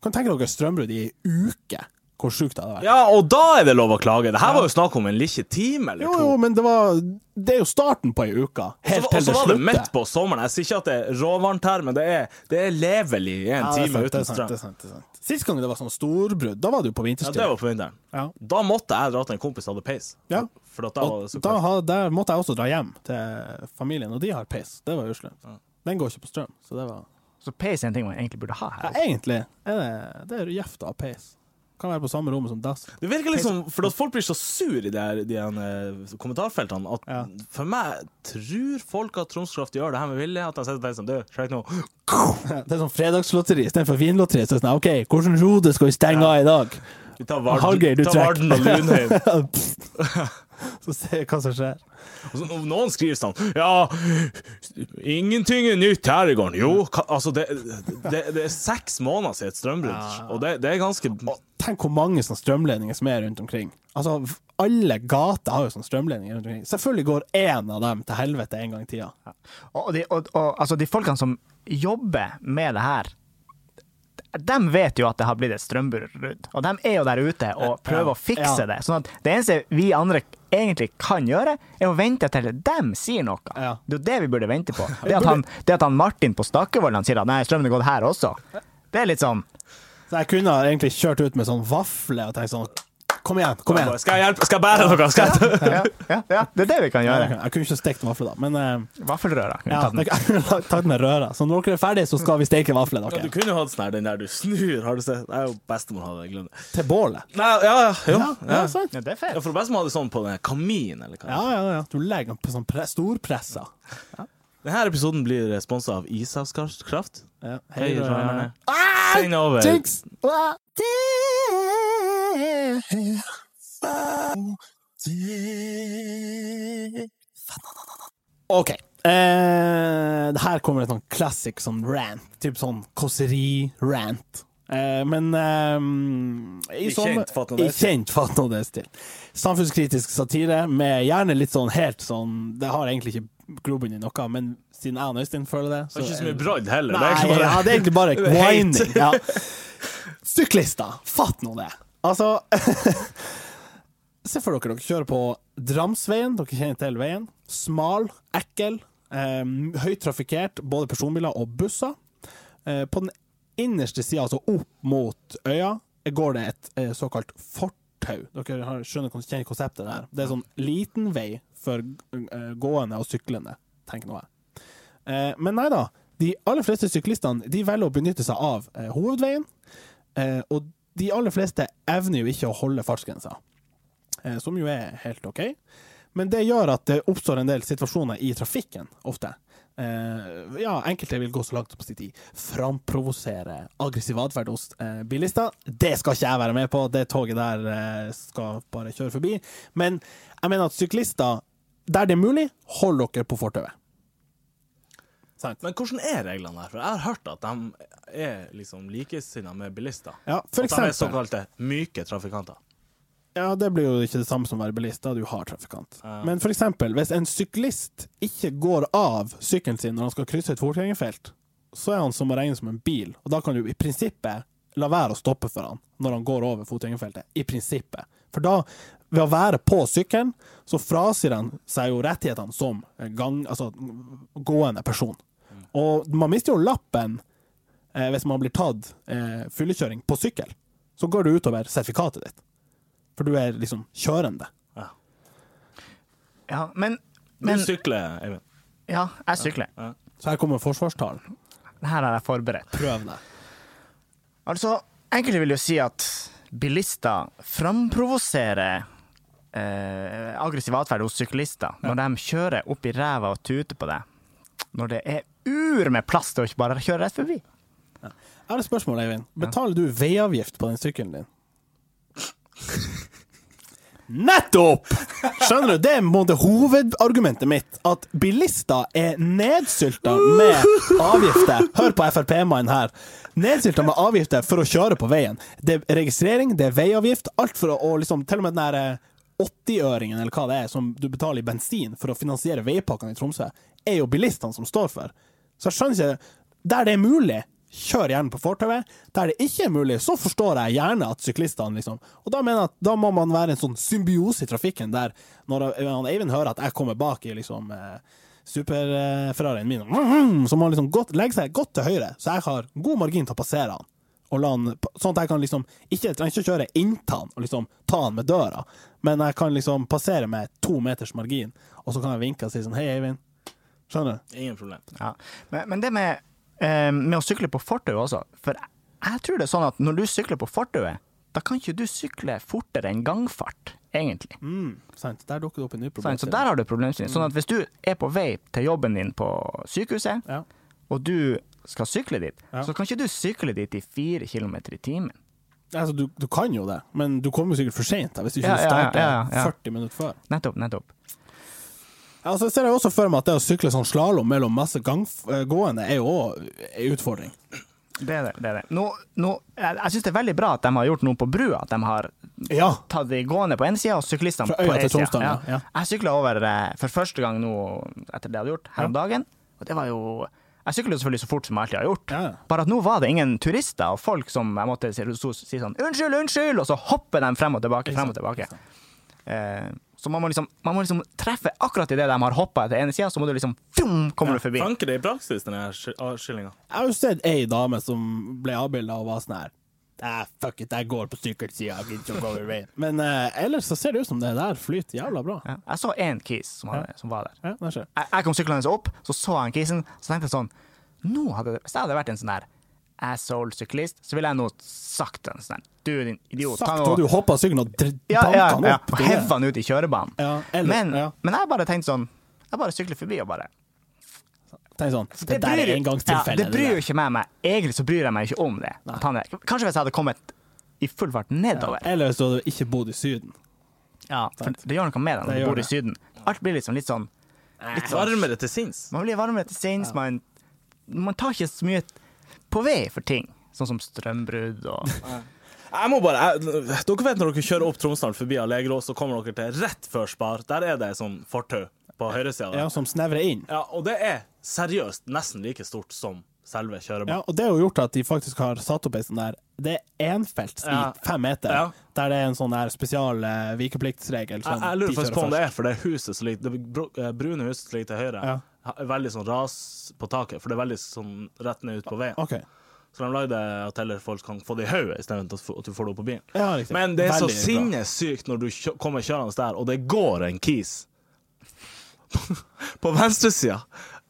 Kan tenke dere strømbrudd i ei uke. Hvor sjukt det hadde vært. Ja, og da er det lov å klage. Det her var jo snakk om en liten time eller Jo, to. jo, men det var Det er jo starten på ei uke. Helt Og til så det var det slutter. midt på sommeren. Jeg sier ikke at det er råvarmt her, men det er, det er levelig i en Ja, det time er sant, det er uten sant, strøm. det er sant, det er sant. Sist gang det var sånn storbrudd, da var det jo på Ja, vinterstid. det var på vinteren. Ja. Da måtte jeg dra til en kompis som hadde peis. Ja. For at da var Og det så da kaldt. ha- der måtte jeg også dra hjem til familien, og de har peis. Det var uslemt. Den går ikke på strøm, så det var Så peis er en ting man egentlig burde ha ja, her. Egentlig er det, det er gjevt å ha peis. Kan være på samme rommet som dass. Det virker liksom, for at Folk blir så sur i de, her, de her eh, kommentarfeltene at Ja. for meg tror folk at Troms Kraft gjør det her med vilje. At de sitter der som død. Sjekk nå. Det er sånn fredagslotteri istedenfor vinlotteri. Så er det sånn, OK, hvordan rode skal vi stenge av i dag? Vi tar Varden, Hallgeir, du ta trekker. Varden og Lunheim. Så ser vi hva som skjer. Og så, og noen skriver sånn Ja, ingenting er nytt her i gården. Jo, ka, altså det, det, det er seks måneder siden et strømbrudd, og det, det er ganske Og tenk hvor mange sånne strømledninger som er rundt omkring. Altså, v- alle gater har jo sånne strømledninger rundt omkring. Selvfølgelig går én av dem til helvete en gang i tida. Og de, og, og, altså, de folkene som jobber med det her, de vet jo at det har blitt et strømbrudd, og de er jo der ute og prøver å Ja. fikse det. Sånn at det eneste vi andre egentlig kan gjøre, er å vente til dem sier noe. Ja. Det er jo det vi burde vente på. Det at han, det at han Martin på Stakkevollan sier at nei, strømmen har gått her også, det er litt sånn Så jeg kunne ha egentlig kjørt ut med sånn vafle og tenkt sånn Kom igjen, kom igjen. Skal jeg hjelpe? Skal jeg bære noe? Skal jeg ja, ja, ja, det er det vi kan Jeg gjøre. kunne- jeg kunne ikke stekt vafler, da, men eh, Vaffelrøra. ja, jeg kunne lagt- tatt med røra. Så når dere er ferdige, så skal vi steke vafler Ja, du dere. kunne jo hatt sånn her, den der du snur, har du sett? Det er jo bestemor hadde, glem det. Til bålet. Nei, ja, ja, jo. Ja, ja, sant. Ja, det er Ja, fett. for bestemor hadde sånn på den her kaminen, eller hva. Ja, ja, ja. Du legger den på sånn pre storpressa. Denne episoden blir eh, sponset av Ishavskraft. Ja. Hei, Hei, Røyerne. røra. Send over. Jinx! Ah! OK. Eh, det her kommer et sånn classic sånn rant. Typ sånn kåseri-rant. Eh, men eh, i, I som, kjent fatt nå det I kjent fatt nå det stil. Samfunnskritisk satire med gjerne litt sånn helt sånn Det har egentlig ikke grobunn i noe, men siden jeg og Øystein føler det Det er ikke så er- mye brodd heller. det er Nei, egentlig bare- ja, det er egentlig bare Det er hate. whining. Ja. Syklister, fatt nå det. Altså Se for dere dere kjører på Dramsveien, dere kjenner til veien. Smal, ekkel, eh, høyt trafikkert, både personbiler og busser. Eh, på den innerste sida, altså opp mot øya, går det et eh, såkalt fortau. Dere har, skjønner kjenner konseptet der. Det er sånn liten vei for eh, gående og syklende, tenker nå jeg. Eh, men nei da. De aller fleste syklistene de velger å benytte seg av eh, hovedveien. Eh, og de aller fleste evner jo ikke å holde fartsgrensa, eh, som jo er helt OK. Men det gjør at det oppstår en del situasjoner i trafikken ofte. eh, ja, enkelte vil gå så langt som å si de framprovosere aggressiv atferd hos eh, bilister. Det skal ikke jeg være med på, det toget der eh, skal bare kjøre forbi. Men jeg mener at syklister, der det er mulig, hold dere på fortauet. Sant? Men hvordan er reglene her? For jeg har hørt at de er liksom likesinna med bilister. Ja, for at de er eksempel. såkalte myke trafikanter. Ja, det blir jo ikke det samme som å være bilist, da er du hard trafikant. Men for eksempel, hvis en syklist ikke går av sykkelen sin når han skal krysse et fotgjengerfelt, så er han som å regne som en bil, og da kan du i prinsippet la være å stoppe for han når han går over fotgjengerfeltet. I prinsippet. For da, ved å være på sykkelen, så frasier han seg jo rettighetene som gang, altså, gående person. Og man mister jo lappen eh, hvis man blir tatt eh, fyllekjøring på sykkel. Så går det utover sertifikatet ditt. For du er liksom kjørende. Ja. Ja, men, Du men sykler, Eivind. Ja, jeg sykler. Så her kommer forsvarstalen. Det her har jeg forberedt. Prøv deg. Altså, enkelte vil jo si at bilister framprovoserer eh, aggressiv atferd hos syklister når de kjører opp i ræva og tuter på deg. Når det er ur med plass til å ikke bare kjøre rett forbi. Jeg har et spørsmål, Eivind. Betaler du veiavgift på den sykkelen din? Nettopp! Skjønner du? Det er på en måte hovedargumentet mitt. At bilister er nedsylta med avgifter. Hør på Frp-mannen her. Nedsylta med avgifter for å kjøre på veien. Det er registrering, det er veiavgift. Alt for å og liksom Til og med den der eh, 80-øringen eller hva det er som du betaler i bensin for å finansiere veipakkene i Tromsø, er jo bilistene som står for. Så jeg skjønner ikke Der det er mulig, kjør gjerne på fortauet. Der det ikke er mulig, så forstår jeg gjerne at syklistene liksom Og da mener jeg at da må man være en sånn symbiose i trafikken, der når han Eivind hører at jeg kommer bak i liksom super-Ferrarien min, så må han liksom godt, legge seg godt til høyre, så jeg har god margin til å passere han og la han, sånn at jeg kan liksom ikke, jeg trenger ikke å kjøre inntil han og liksom ta han med døra, men jeg kan liksom passere med to meters margin, og så kan jeg vinke og si sånn hei, Eivind. Skjønner du? Ingen problem. Ja. Men, men det med, eh, med å sykle på fortau også, for jeg, jeg tror det er sånn at når du sykler på fortauet, da kan ikke du sykle fortere enn gangfart, egentlig. Mm, Sant. Der dukker det opp en ny Sant? Så problemstilling. der har du problemstillingen. Sånn Mm. at hvis du er på vei til jobben din på sykehuset, Ja. og du skal sykle dit, Ja. så kan ikke du sykle dit i fire kilometer i timen. Altså, du, du kan jo det, men du kommer jo sikkert for seint hvis du ikke Ja, ja, ja, starter ja, ja. 40 minutter før. Nettopp, nettopp. Altså, jeg ser jo også for meg at det å sykle sånn slalåm mellom masse gangf- eh, gående er jo òg en utfordring. Det er det. det, er det. Nå, nå, jeg jeg syns det er veldig bra at de har gjort noe på brua. At de har Ja. tatt de gående på ene sida og syklistene Fra på øya til den sida. Tromsdalen, ja. Jeg sykla over eh, for første gang nå etter det jeg hadde gjort, her om dagen. Og det var jo Jeg sykler jo selvfølgelig så fort som jeg alltid har gjort. Ja. Bare at nå var det ingen turister og folk som jeg måtte si, si sånn 'unnskyld, unnskyld', og så hopper de frem og tilbake, frem og tilbake. Eh, så man må, liksom, man må liksom treffe akkurat idet de har hoppa til ene sida, så må du liksom fjom, kommer du forbi. Funker det i praksis, denne sk- avskillinga? Jeg har jo sett ei dame som ble avbilda og var sånn her Nei, fuck it, jeg går på sykkelsida, jeg gidder ikke å gå over veien. Men eh, ellers så ser det ut som det der flyter jævla bra. Ja. Jeg så én kis som, hadde, som var der. Ja, det skjer. jeg, jeg kom syklende opp, så så jeg han kisen, så tenkte jeg sånn nå hadde, Hvis jeg hadde vært en sånn der asshole-syklist, så ville jeg nå sagt til han sånn der, Du, din idiot. ta Sagt, nå- og du hoppa av sykkelen og dr- ja, banka ja, han ja, opp. og Det er- hev han ut i kjørebanen. Ja, eller- men, ja. men jeg bare tenkte sånn Jeg bare sykler forbi og bare Tenk sånn, det, der er ja, engangstilfelle. det bryr jo ikke meg meg. Egentlig så bryr jeg meg ikke om det. Nei. At han er, kanskje hvis jeg hadde kommet i full fart nedover. Ja, Eller hvis du hadde ikke bodd i Syden. for det gjør noe med deg Det når du gjør bor i det. Syden. Alt blir liksom litt sånn Litt varmere til sinns. Man blir varmere til sinns. Man, man tar ikke så mye på vei for ting, sånn som strømbrudd og Jeg må bare, jeg, Dere vet når dere kjører opp Tromsdalen forbi Allegro, så kommer dere til rett før Spar. Der er det en sånn fortau på høyresida. Ja, som snevrer inn. Ja, og det er seriøst nesten like stort som selve Ja, kjørebanen. og det har jo gjort at de faktisk har satt opp ei sånn der Det er enfelts Ja. i fem meter, Ja. der det er en sånn der spesial eh, vikepliktsregel. Jeg, som jeg de lurer faktisk kjører på om det først. er, for det huset som ligger, det bru- eh, brune huset som ligger til høyre, Ja. ha- er veldig sånn ras på taket, for det er veldig sånn rett ned ut på veien. Ok. Så de lagde at heller folk kan få det i hodet, istedenfor at du får det opp på bilen. Ja, riktig. Men det er så Veldig bra. sinnssykt når du kjø kommer kjørende der, og det går en kis på venstresida.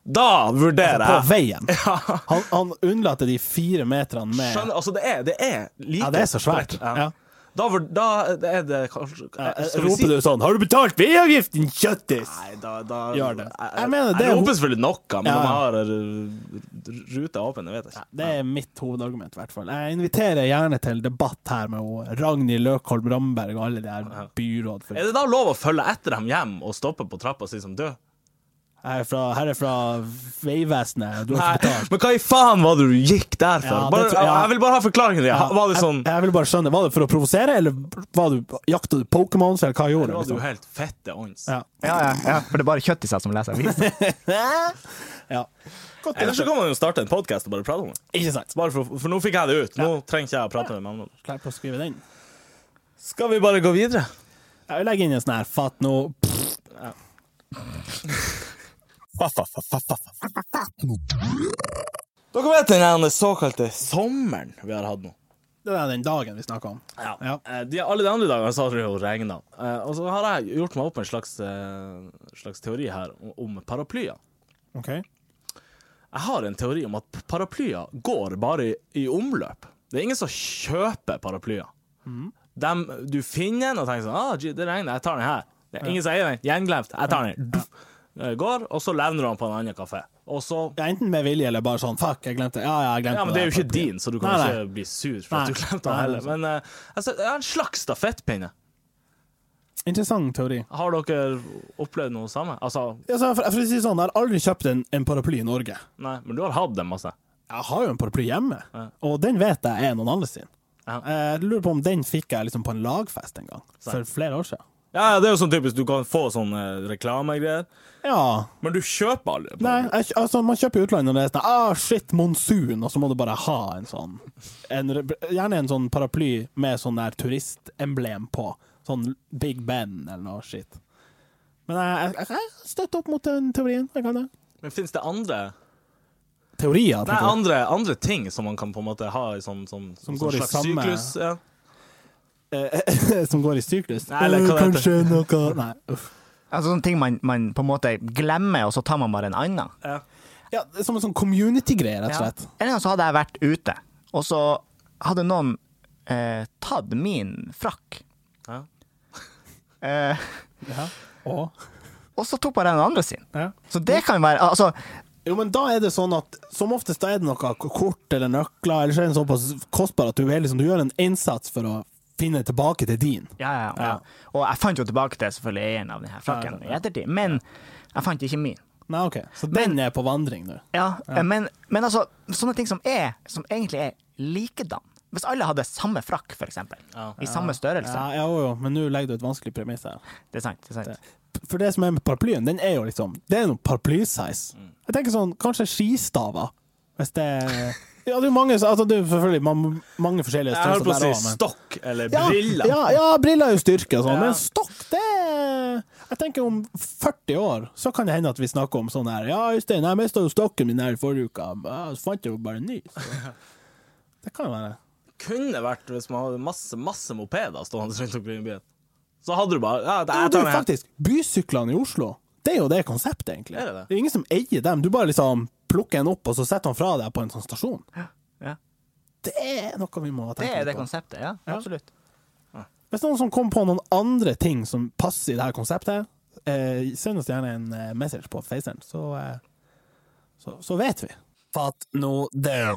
Da vurderer Altså, jeg! På veien. Han, han unnlater de fire meterne med Skjønner, altså det er, det er like Ja, det er så svært. Ja. Ja. Da, vur- da er det kanskje eh, skal vi si- Roper du sånn 'Har du betalt veiavgift, din kjøttis?' Nei, da, da Gjør det. Jeg, Jeg mener, det er jeg ho- roper selvfølgelig noe, men om Ja, ja. jeg har eh, ruta åpen, jeg vet ikke. Det er mitt hovedargument, i hvert fall. Jeg inviterer gjerne til debatt her med ho- Ragnhild Løkholm Ramberg og alle de her byråd. For Er det da lov å følge etter dem hjem og stoppe på trappa og si som du? jeg er fra, her er fra Vegvesenet, du har Nei, ikke betalt. men hva i faen var det du gikk der for? Ja, det bare, tror jeg- Jeg vil bare ha forklaringen din. Var det sånn jeg, jeg vil bare skjønne, var det for å provosere, eller var du, jakta du Pokémons, eller hva gjorde du? Var du Liksom? helt fette ånds? Ja. Ja, ja, ja, for det er bare kjøtt i seg som leser aviser. ja. Godt, Ellers så kan man jo starte en podkast og bare prate om det. Ikke sant. Bare for, for nå fikk jeg det ut. Nå trenger ikke jeg å prate med mamma. Klar på å skrive den. Skal vi bare gå videre? Jeg vil legge inn en sånn her fat nå Dere vet den her såkalte sommeren vi har hatt nå? Det er den dagen vi snakker om. Ja. Ja. Eh, De, alle de andre dagene så har det jo regna. Eh, og så har jeg gjort meg opp en slags, eh, slags teori her om, om paraplyer. Ok. Jeg har en teori om at paraplyer går bare i, i omløp. Det er ingen som kjøper paraplyer. Mm. Dem- du finner en og tenker sånn ah, gee, det regner, jeg tar den her. Det er ingen som eier den. Gjenglemt. Jeg tar den. Duff. Eh, Går, og så levner du den på en annen kafé. Og så Ja, enten med vilje eller bare sånn fuck, jeg glemte Ja, ja, jeg glemte Ja, men det er jo ikke papir. din, så du kan Nei, nei. ikke bli sur for Nei. at du glemte den Nei, heller. nei, Men eh, altså, det er en slags stafettpinne. Interessant teori. Har dere opplevd noe samme? Altså, Altså, for, for å si det sånn, jeg har aldri kjøpt en, en paraply i Norge. nei, men du har hatt dem masse. Jeg har jo en paraply hjemme, og den vet jeg er noen andre sin. Ja. Jeg lurer på om den fikk jeg liksom på en lagfest en gang, for flere år siden. Ja, ja, det er jo sånn typisk, du kan få sånne reklamegreier, Ja. men du kjøper aldri. Nei, jeg, altså, man kjøper i utlandet når det er sånn ah, shit, monsun, og så må du bare ha en sånn en, re- Gjerne en sånn paraply med sånn der turistemblem på. Sånn Big Ben eller noe shit. Men jeg, jeg, jeg støtter opp mot den teorien. Jeg kan det. Men finnes det andre Teorier, Nei, tenker jeg. andre, andre ting som man kan på en måte ha i sånn, sånn, Som sånn går i slags samme- syklus? Ja. Eh, som går i syklus. Nei, eller hva Eh, det Kanskje noe Nei, uff. Altså sånne ting man, man på en måte glemmer, og så tar man bare en annen. Ja. Ja, det er som en sånn community-greie, rett og Ja. slett. En gang så hadde jeg vært ute, og så hadde noen eh, tatt min frakk. Ja. Eh, Ja. Og og så tok bare den andre sin. Ja. Så det kan jo være Altså, Jo, men da er det sånn at som oftest da er det noe kort eller nøkler, eller så er den såpass kostbar at du, er liksom, du gjør en innsats for å finne tilbake til din. ja, ja, ja. Ja. Og jeg fant jo tilbake til selvfølgelig eieren av denne frakken i ettertid, men jeg fant ikke min. Nei, ok. Så den er på vandring nå. Ja, eh, Men, men altså, sånne ting som er Som egentlig er likedan. Hvis alle hadde samme frakk, for eksempel, Ja. i samme størrelse Ja, ja, jo, jo, men nå legger du et vanskelig premiss her. Det er sant. det er sant. For det som er med paraplyen, den er jo liksom Det er noe paraplysize. Jeg tenker sånn, kanskje skistaver, hvis det Ja, det er jo mange, altså, det er jo selvfølgelig man- mange forskjellige Jeg holdt på å der si også, men- stokk eller Ja, briller. Ja, ja, briller er jo styrke og Ja. sånn, men stokk, det er- Jeg tenker om 40 år, så kan det hende at vi snakker om sånn her Ja, Øystein, jeg mista jo stokken min her i forrige uke, ja, så fant jeg jo bare en ny. Så. Det kan jo være. Kunne vært hvis man hadde masse masse mopeder stående rundt omkring i byen. Så hadde du bare ja, Ja, jeg du, tar den her. faktisk, bysyklene i Oslo, det er jo det konseptet, egentlig. Er det det? er ingen som eier dem. Du bare liksom plukker en opp, og så setter han fra deg på en sånn stasjon. Ja. Det er noe vi må Det tenke er det litt på. konseptet, ja. Absolutt. Hvis noen som kom på noen andre ting som passer i det her konseptet, eh, send oss gjerne en eh, message på Faceren, så, eh, så, så vet vi. Fatt nå det.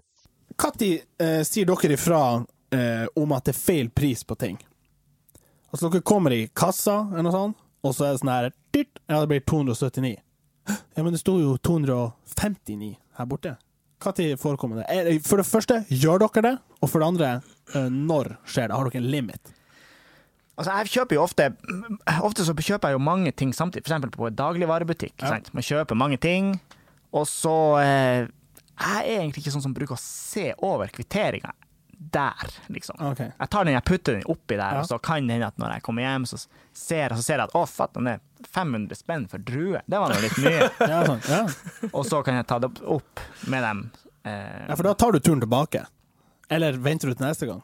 Når eh, sier dere ifra eh, om at det er feil pris på ting? Altså, dere kommer i kassa, eller noe sånt, og så er det sånn her dyrt, Ja, det blir 279. Ja, men det sto jo 259 her borte. Når forekommer det? Er- For det første, gjør dere det? Og for det andre, eh, når skjer det? Har dere en limit? Altså, jeg kjøper jo ofte Ofte så kjøper jeg jo mange ting samtidig, for eksempel på en dagligvarebutikk. Sant? Man kjøper mange ting, og så eh, Jeg er egentlig ikke sånn som bruker å se over kvitteringa der, liksom. Ok. Jeg tar den, jeg putter den oppi der, Ja. og så kan det hende at når jeg kommer hjem, så ser, så ser jeg at å, fatt, den er 500 spenn for drue. Det var nå litt mye. Ja, sånn. ja. og så kan jeg ta det opp- opp med dem. Eh, ja, for da tar du turen tilbake. Eller venter du til neste gang?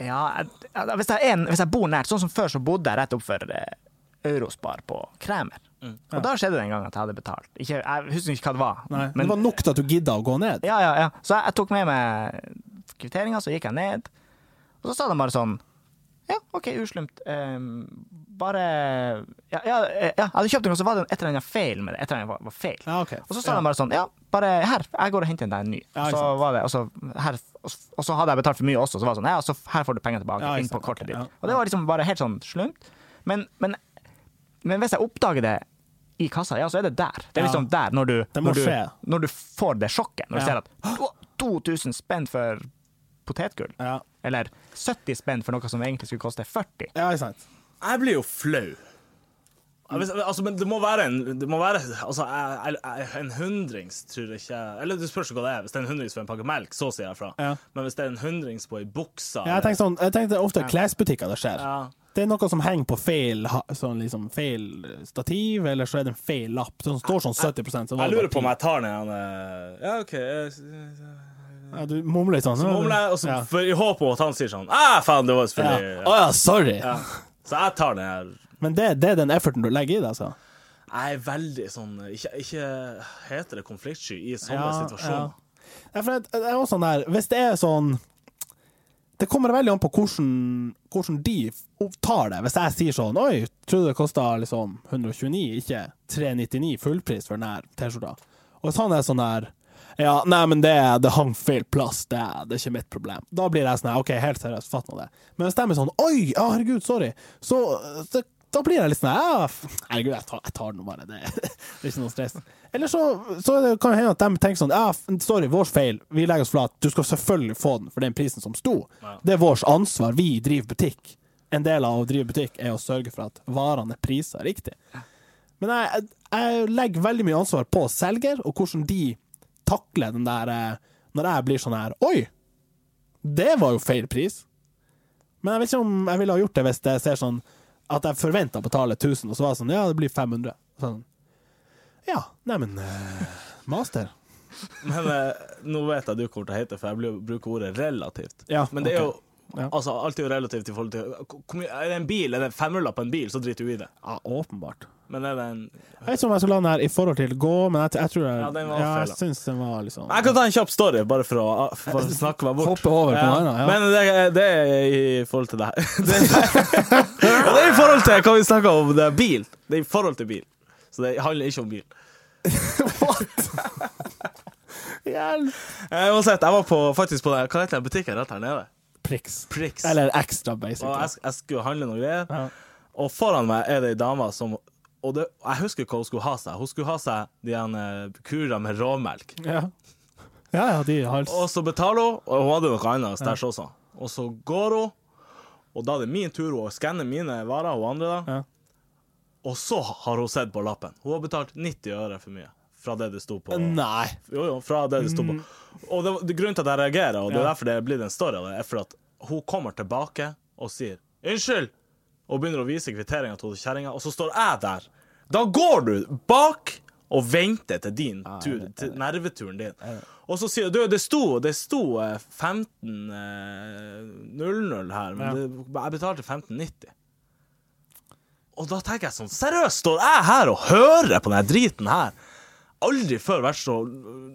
Ja, jeg, jeg, hvis, jeg er, en- hvis jeg bor nært, sånn som før, så bodde jeg rett opp for eh, Eurospar på Kremer. Mm. Og da skjedde det en gang at jeg hadde betalt. Ikke, jeg husker ikke hva det var. Nei, men, Det var nok til at du gidda å gå ned? ja, ja, ja. Så jeg, jeg tok med meg kvitteringa, så gikk jeg ned. Og så sa de bare sånn Ja, OK, uslumt. Ehm, bare ja, ja, eh, ja, jeg hadde kjøpt noe, så var det et eller annet feil med det. Et eller annet var, var feil. Ja, ok. Og så sa Ja. de bare sånn Ja, bare her. Jeg går og henter deg en ny. Ja, ikke så sant. var det, og så, her, og så- og så hadde jeg betalt for mye også, så var det sånn Ja, så her får du penger tilbake. Ja, ikke inn på sant. kortet Ok, ditt. ja. Og det var liksom bare helt sånn slumt. Men, men, men hvis jeg oppdager det i kassa, ja, så er det der. Det er Ja. liksom der, når du, Det må når du, skje. når du får det sjokket. Når Ja. du ser at «Å, 2000 spenn for potetgull. Ja. Eller 70 spenn for noe som egentlig skulle koste 40. Ja, ikke sant. Jeg blir jo flau. Ja, hvis- Altså, men det må være en det må være, altså, jeg, jeg, jeg- En hundrings tror jeg ikke Eller det spørs jo hva det er. Hvis det er en hundrings for en pakke melk, så sier jeg fra. Ja. Men hvis det er en hundrings på ei bukse Ja, jeg tenkte sånn, jeg tenkte ofte klesbutikker det skjer. Ja. Det er noe som henger på feil, ha- sånn liksom feil stativ, eller så er det en feil lapp. Det står sånn 70 så var Jeg det lurer bare på om 10. jeg tar ned den eh, Ja, OK. eh, Ja, du mumler litt sånn. Så Mumler jeg, og så ja. for- i håp om at han sier sånn ah, faen, det var Ja. selvfølgelig Å ja, sorry! Ja. Så jeg tar den her. Men det, det er den efforten du legger i det, altså. Jeg er veldig sånn Ikke, ikke heter det konfliktsky i sånne situasjoner. Ja. Ja, for det, det er også sånn der, hvis det er sånn Det kommer veldig an på hvordan, hvordan de f- tar det. Hvis jeg sier sånn Oi, tror du det kosta liksom 129, ikke 399 fullpris for den her T-skjorta? Og hvis han er sånn der Ja, nei, men det, det hang feil plass, det, er- det er ikke mitt problem. Da blir jeg sånn her, OK, helt seriøst, fatt nå det. Men hvis de er sånn Oi, ja, herregud, sorry, så så- da blir jeg litt sånn ja, f- Herregud, jeg tar, jeg tar den nå bare. Det, det er ikke noe stress. Eller så, så er det- kan det hende at de tenker sånn ja, f- Sorry, vår feil. Vi legger oss flat. Du skal selvfølgelig få den for den prisen som sto. Det er vårt ansvar. Vi driver butikk. En del av å drive butikk er å sørge for at varene er prisa riktig. Men jeg, jeg legger veldig mye ansvar på selger, og hvordan de takler den der eh, Når jeg blir sånn her Oi! Det var jo feil pris. Men jeg vet ikke om jeg ville ha gjort det hvis jeg ser sånn at jeg forventa å betale 1000, og så var det sånn Ja, det blir 500. Sånn. Ja, neimen eh, Master. Men eh, nå vet jeg du kommer til å hete, for jeg blir- bruker ordet relativt. Ja, Men det er jo ok. Ja. Altså, alt er jo relativt i forhold til hvor mye- Er det en bil, er det en femruller på en bil, så driter du i det. Ja, åpenbart. Men er det en Jeg vet ikke om jeg skal la den her i forhold til gå, men jeg, t- jeg tror jeg, Ja, den var ja, jeg feil, da. syns den var liksom Jeg kan ta en kjapp story, bare for å, for å snakke meg bort. Hoppe over på Ja. den, ja. Men det, er- det er i forhold til det her. Det er, det er i forhold til hva vi snakka om, det er bil. Det er i forhold til bil. Så det handler ikke om bil. Hjelp! Eh, Uansett, jeg var på, faktisk på den, hva heter den butikken rett her nede? Priks. Prix. Eller ekstra, basic. Og jeg, jeg skulle handle noen greier, Ja. og foran meg er det ei dame som og det, Jeg husker hva hun skulle ha seg. Hun skulle ha seg de her, eh, kurene med råmelk. Ja. ja, ja, de hals... Og så betaler hun, og hun hadde noe annet stæsj også. Og så går hun, og da er det min tur å skanne mine varer, hun andre da. Ja. Og så har hun sett på lappen. Hun har betalt 90 øre for mye fra det det sto på. Nei. Jo, jo, fra det det sto på. Og det, det, grunnen til at jeg reagerer, og det er derfor det blir en story av det, er for at hun kommer tilbake og sier 'unnskyld', og begynner å vise kvitteringa til hun kjerringa, og så står jeg der. Da går du bak og venter til din tur, til nerveturen din. Og så sier du 'du, det sto, det sto eh, 15.00 her, men Ja. det, jeg betalte 15.90'. Og da tenker jeg sånn, seriøst, står jeg her og hører på den driten her? Aldri før vært så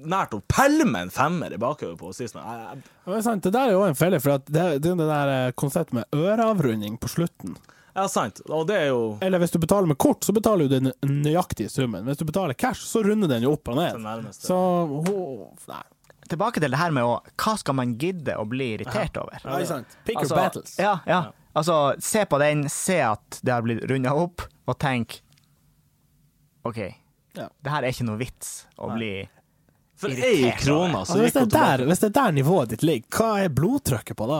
nært å pelle med en femmer i bakhodet på sist. Jeg, jeg, Men Det, er sant, det der er jo en felle, for at det, det er jo det der eh, konseptet med øreavrunding på slutten. ja, sant. Og det er jo Eller hvis du betaler med kort, så betaler du den nøyaktige summen. Hvis du betaler cash, så runder den jo opp og Den ned. nærmeste. Så ho, Nei. Tilbake til det her med å, hva skal man gidde å bli irritert over? Pick your Altså, battles. Ja, ja. Altså, se på den, se at det har blitt runda opp, og tenk OK, Ja. det her er ikke noe vits å bli For ei Irriterende. krone, Altså, så hvis, gikk det hun er tilbake. der, hvis det er der nivået ditt ligger, hva er blodtrykket på da?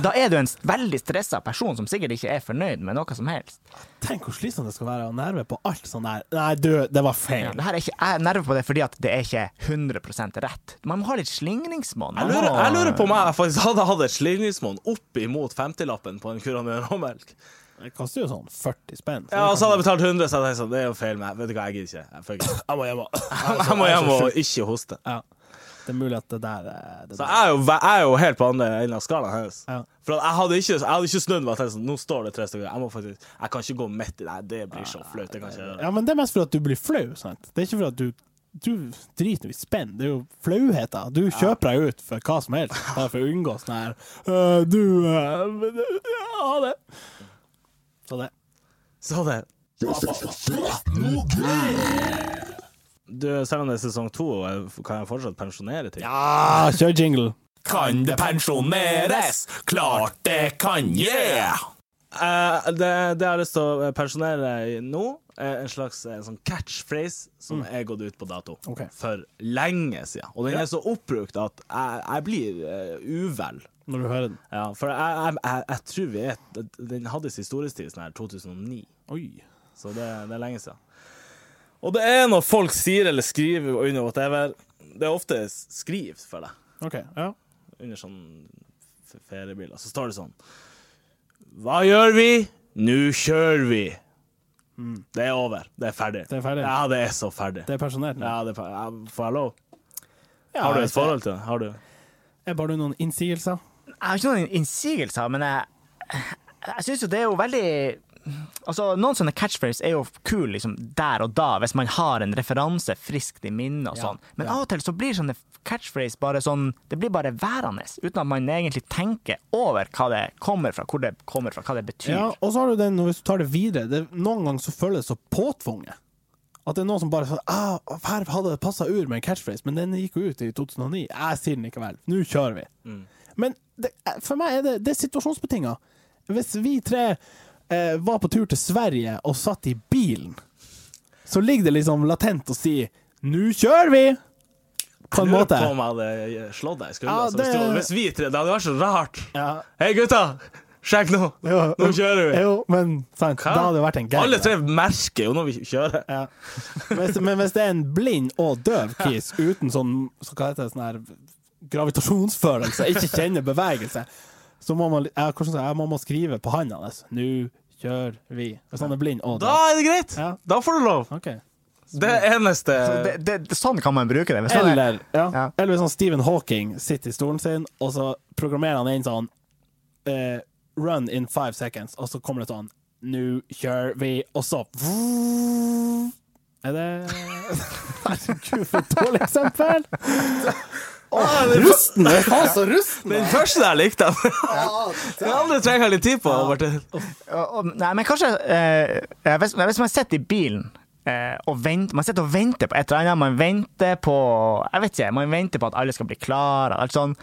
Da er du en s- veldig stressa person som sikkert ikke er fornøyd med noe som helst. Tenk hvor slitsomt det skal være å nerve på alt sånn der. Nei, du, det var Ja, feil. det her er ikke, jeg er nervøs på det fordi at det er ikke 100 rett. Man må ha litt slingringsmonn. Jeg Man lurer, må- jeg lurer på om Ah. jeg faktisk hadde hatt et slingringsmonn opp imot 50-lappen på en kurv med råmelk. Det koster jo sånn 40 spenn. Ja, altså. og så hadde jeg betalt 100, så jeg tenkte sånn, det er jo feil med meg. Vet du hva, jeg gidder ikke. Jeg, fuck it. jeg må hjem og jeg må hjem og ikke hoste. Ja. Det er mulig at det der eh, det Så der- jeg er jo, jeg er jo helt på andre enden av skalaen hennes. Ja. For at jeg hadde ikke, jeg hadde ikke snudd meg og tenkt sånn Nå står det tre stykker. Jeg må faktisk Jeg kan ikke gå midt i det. her. Det blir så flaut. Det kan jeg ikke gjøre. Ja, men det er mest for at du blir flau, sant? Det er ikke for at du du driter jo i spenn, det er jo flauheter. Du kjøper deg ut for hva som helst, bare for å unngå sånn her «Øh, Du øh, men, øh, ja, Ha det! Så det. Så det Du, selv om det er sesong to, kan jeg fortsatt pensjonere ting? Ah, kjør jingle. Kan det pensjoneres? Klart det kan, yeah! Eh, det, det jeg har lyst til å eh, pensjonere i nå, er en slags eh, sånn catchphrase som er gått ut på dato Ok. for lenge siden. Og den er så oppbrukt at jeg, jeg blir eh, uvel. Når du hører den. Ja, for jeg, jeg, jeg, jeg tror vi er Den hadde sin storhetstid sånn her 2009. Oi. Så det, det er lenge siden. Og det er når folk sier eller skriver under whatever Det er ofte skriv for deg OK. Ja. under sånn f- feriebiler. Så står det sånn Hva gjør vi? Nå kjører vi! Det er over. Det er ferdig. Mm. Det er ferdig. Ja, det er så ferdig. Det er pensjonert nå. ja, det er fer- ja, får jeg lov? Ja, Har du et jeg- forhold til det? Har du? Er bare du noen innsigelser? Jeg har ikke noen innsigelser, men jeg, jeg syns jo det er jo veldig Altså, Noen sånne catchphrases er jo kul liksom, der og da, hvis man har en referanse friskt i minnet. og Ja, sånn. Men ja. av og til så blir sånne catchphrase bare sånn Det blir bare værende, uten at man egentlig tenker over hva det kommer fra, hvor det kommer fra, hva det betyr. Ja, og så har du den, hvis du tar det videre, det, noen ganger så føles det så påtvunget. At det er noen som bare sånn ah, Her hadde det passa ur med en catchphrase, men den gikk jo ut i 2009. Jeg sier den likevel. Nå kjører vi. Mm. Men det, for meg er det, det er situasjonsbetinga. Hvis vi tre eh, var på tur til Sverige og satt i bilen, så ligger det liksom latent å si 'nå kjører vi'! På en Lurer måte. på om jeg hadde eh, slått deg i skuldra. Ja, så det- hvis, du- hvis vi tre Det hadde vært så rart. Ja. Hei, gutta! Sjekk nå! Jo, Nå kjører vi! Jo, men sant. Hva? Da hadde det vært en gang. Alle tre merker jo når vi kjører. Ja. Hvis, men hvis det er en blind og døv kis uten sånn så hva heter det, sånn her gravitasjonsfølelse, ikke kjenner bevegelse, så må man, ja, hvordan skal jeg, man må skrive på hånda hans 'Nå kjører vi'. Hvis han er blind og Da døv. er det greit! Ja. Da får du lov. Ok. Det eneste Så det, det, det, sånn kan man bruke det. Hvis man er- Eller, ja. Ja. Eller hvis han Stephen Hawking sitter i stolen sin, og så programmerer han inn sånn eh, 'Run in five seconds', og så kommer det sånn 'Nå kjører vi', og så Er det Herregud, for et dårlig eksempel! Rusten! Jeg var så rusten! Den første der likte jeg. Den andre trenger jeg litt tid på. Over til. Og- og- Nei, men kanskje eh, hvis, hvis man sitter i bilen eh, og venter, Man sitter og venter på et eller annet. Man venter på Jeg vet ikke, man venter på at alle skal bli klare. Alt sånn.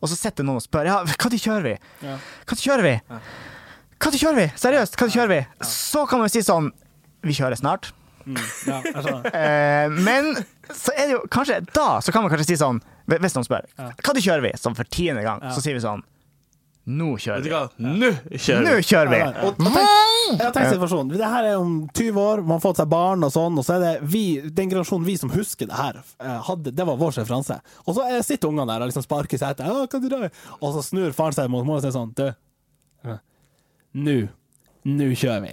Og så sitter noen og spør Ja, når kjører vi? Når kjører vi? Når kjører vi? Seriøst, når kjører vi? Så kan man si sånn Vi kjører snart. Ja, sånn. jeg skjønner. Eh, men så er det jo kanskje da så kan man kanskje si sånn Hvis noen spør Når kjører vi? Sånn for tiende gang, så sier vi sånn Nå Vet kjører du vi. hva? Nå Nå kjører vi! kjører vi. Ja, og- og tenk- ja, tenk situasjonen. Det her er om 20 år, man har fått seg barn og sånn, og så er det vi, den generasjonen vi som husker det her, eh, hadde, det var vår referanse. Og så eh, sitter ungene der og liksom sparker i setet, «Ja, hva du gjør?» og så snur faren seg mot mor og sier sånn, du, ja, nå, nå kjører vi.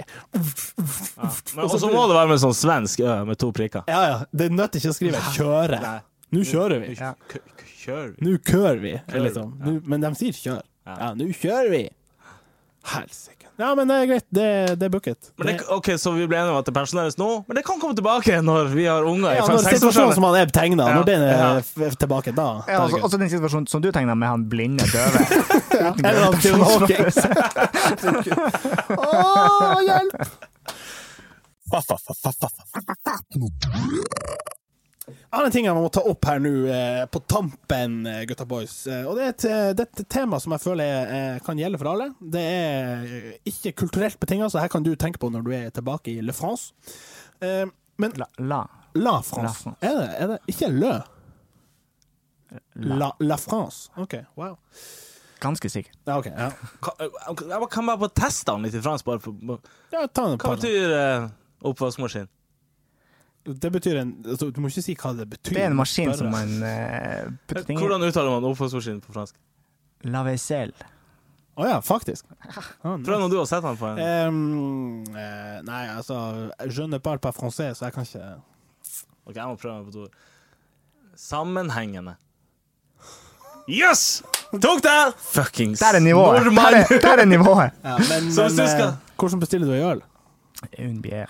Og så må det være med sånn svensk ø med to prikker. Ja, ja, det nøtter ikke å skrive 'kjøre'. Nå kjører vi. K- k- Kjører vi? Nå kører vi, liksom. Nå, men de sier kjør. Ja, nå kjører vi! Helsike. Ja, men det er greit. Det, det er booket. Men det, ok, Så vi ble enige om at det pensjoneres nå, men det kan komme tilbake når vi har unger i Ja, når situasjonen som fem-seksårsalderen. han er tegna, Ja. når den er Ja. f- tilbake, da Ja, altså, altså den situasjonen som du tegna med han blinde døve. Uten Eller han Stephen Hawking. Å, hjelp! Annen ting jeg må ta opp her nå eh, på tampen, eh, gutta boys, eh, og det er, et, eh, det er et tema som jeg føler eh, kan gjelde for alle. Det er eh, ikke kulturelt betinga, så her kan du tenke på når du er tilbake i Le France. Eh, men La, la, La La France. France. Er, det, er det ikke Le? La, la France. OK, wow. ganske sikker. Ja, ok, ja. Ka- ok, Jeg kan bare få teste han litt i fransk. Bare for, hva ja ta en par. betyr uh, oppvaskmaskin? Det betyr en altså, Du må ikke si hva det betyr. Det er en maskin Bare- som man eh, putter ting i. Hvordan uttaler man oppvaskmaskin på fransk? La vaisselle. Å ja, faktisk. Sånn. Prøv når du har sett han Eh, på en. Ehm, eh, nei, altså Je ne parle pas français, så jeg kan ikke Ok, jeg må prøve meg på et ord. Sammenhengende. Yes! Tok det! Fuckings Der er nivået! Der nordmann! er, der er nivået. ja, men, Så hvis men, du skal- eh, Hvordan bestiller du ei øl? Une bière.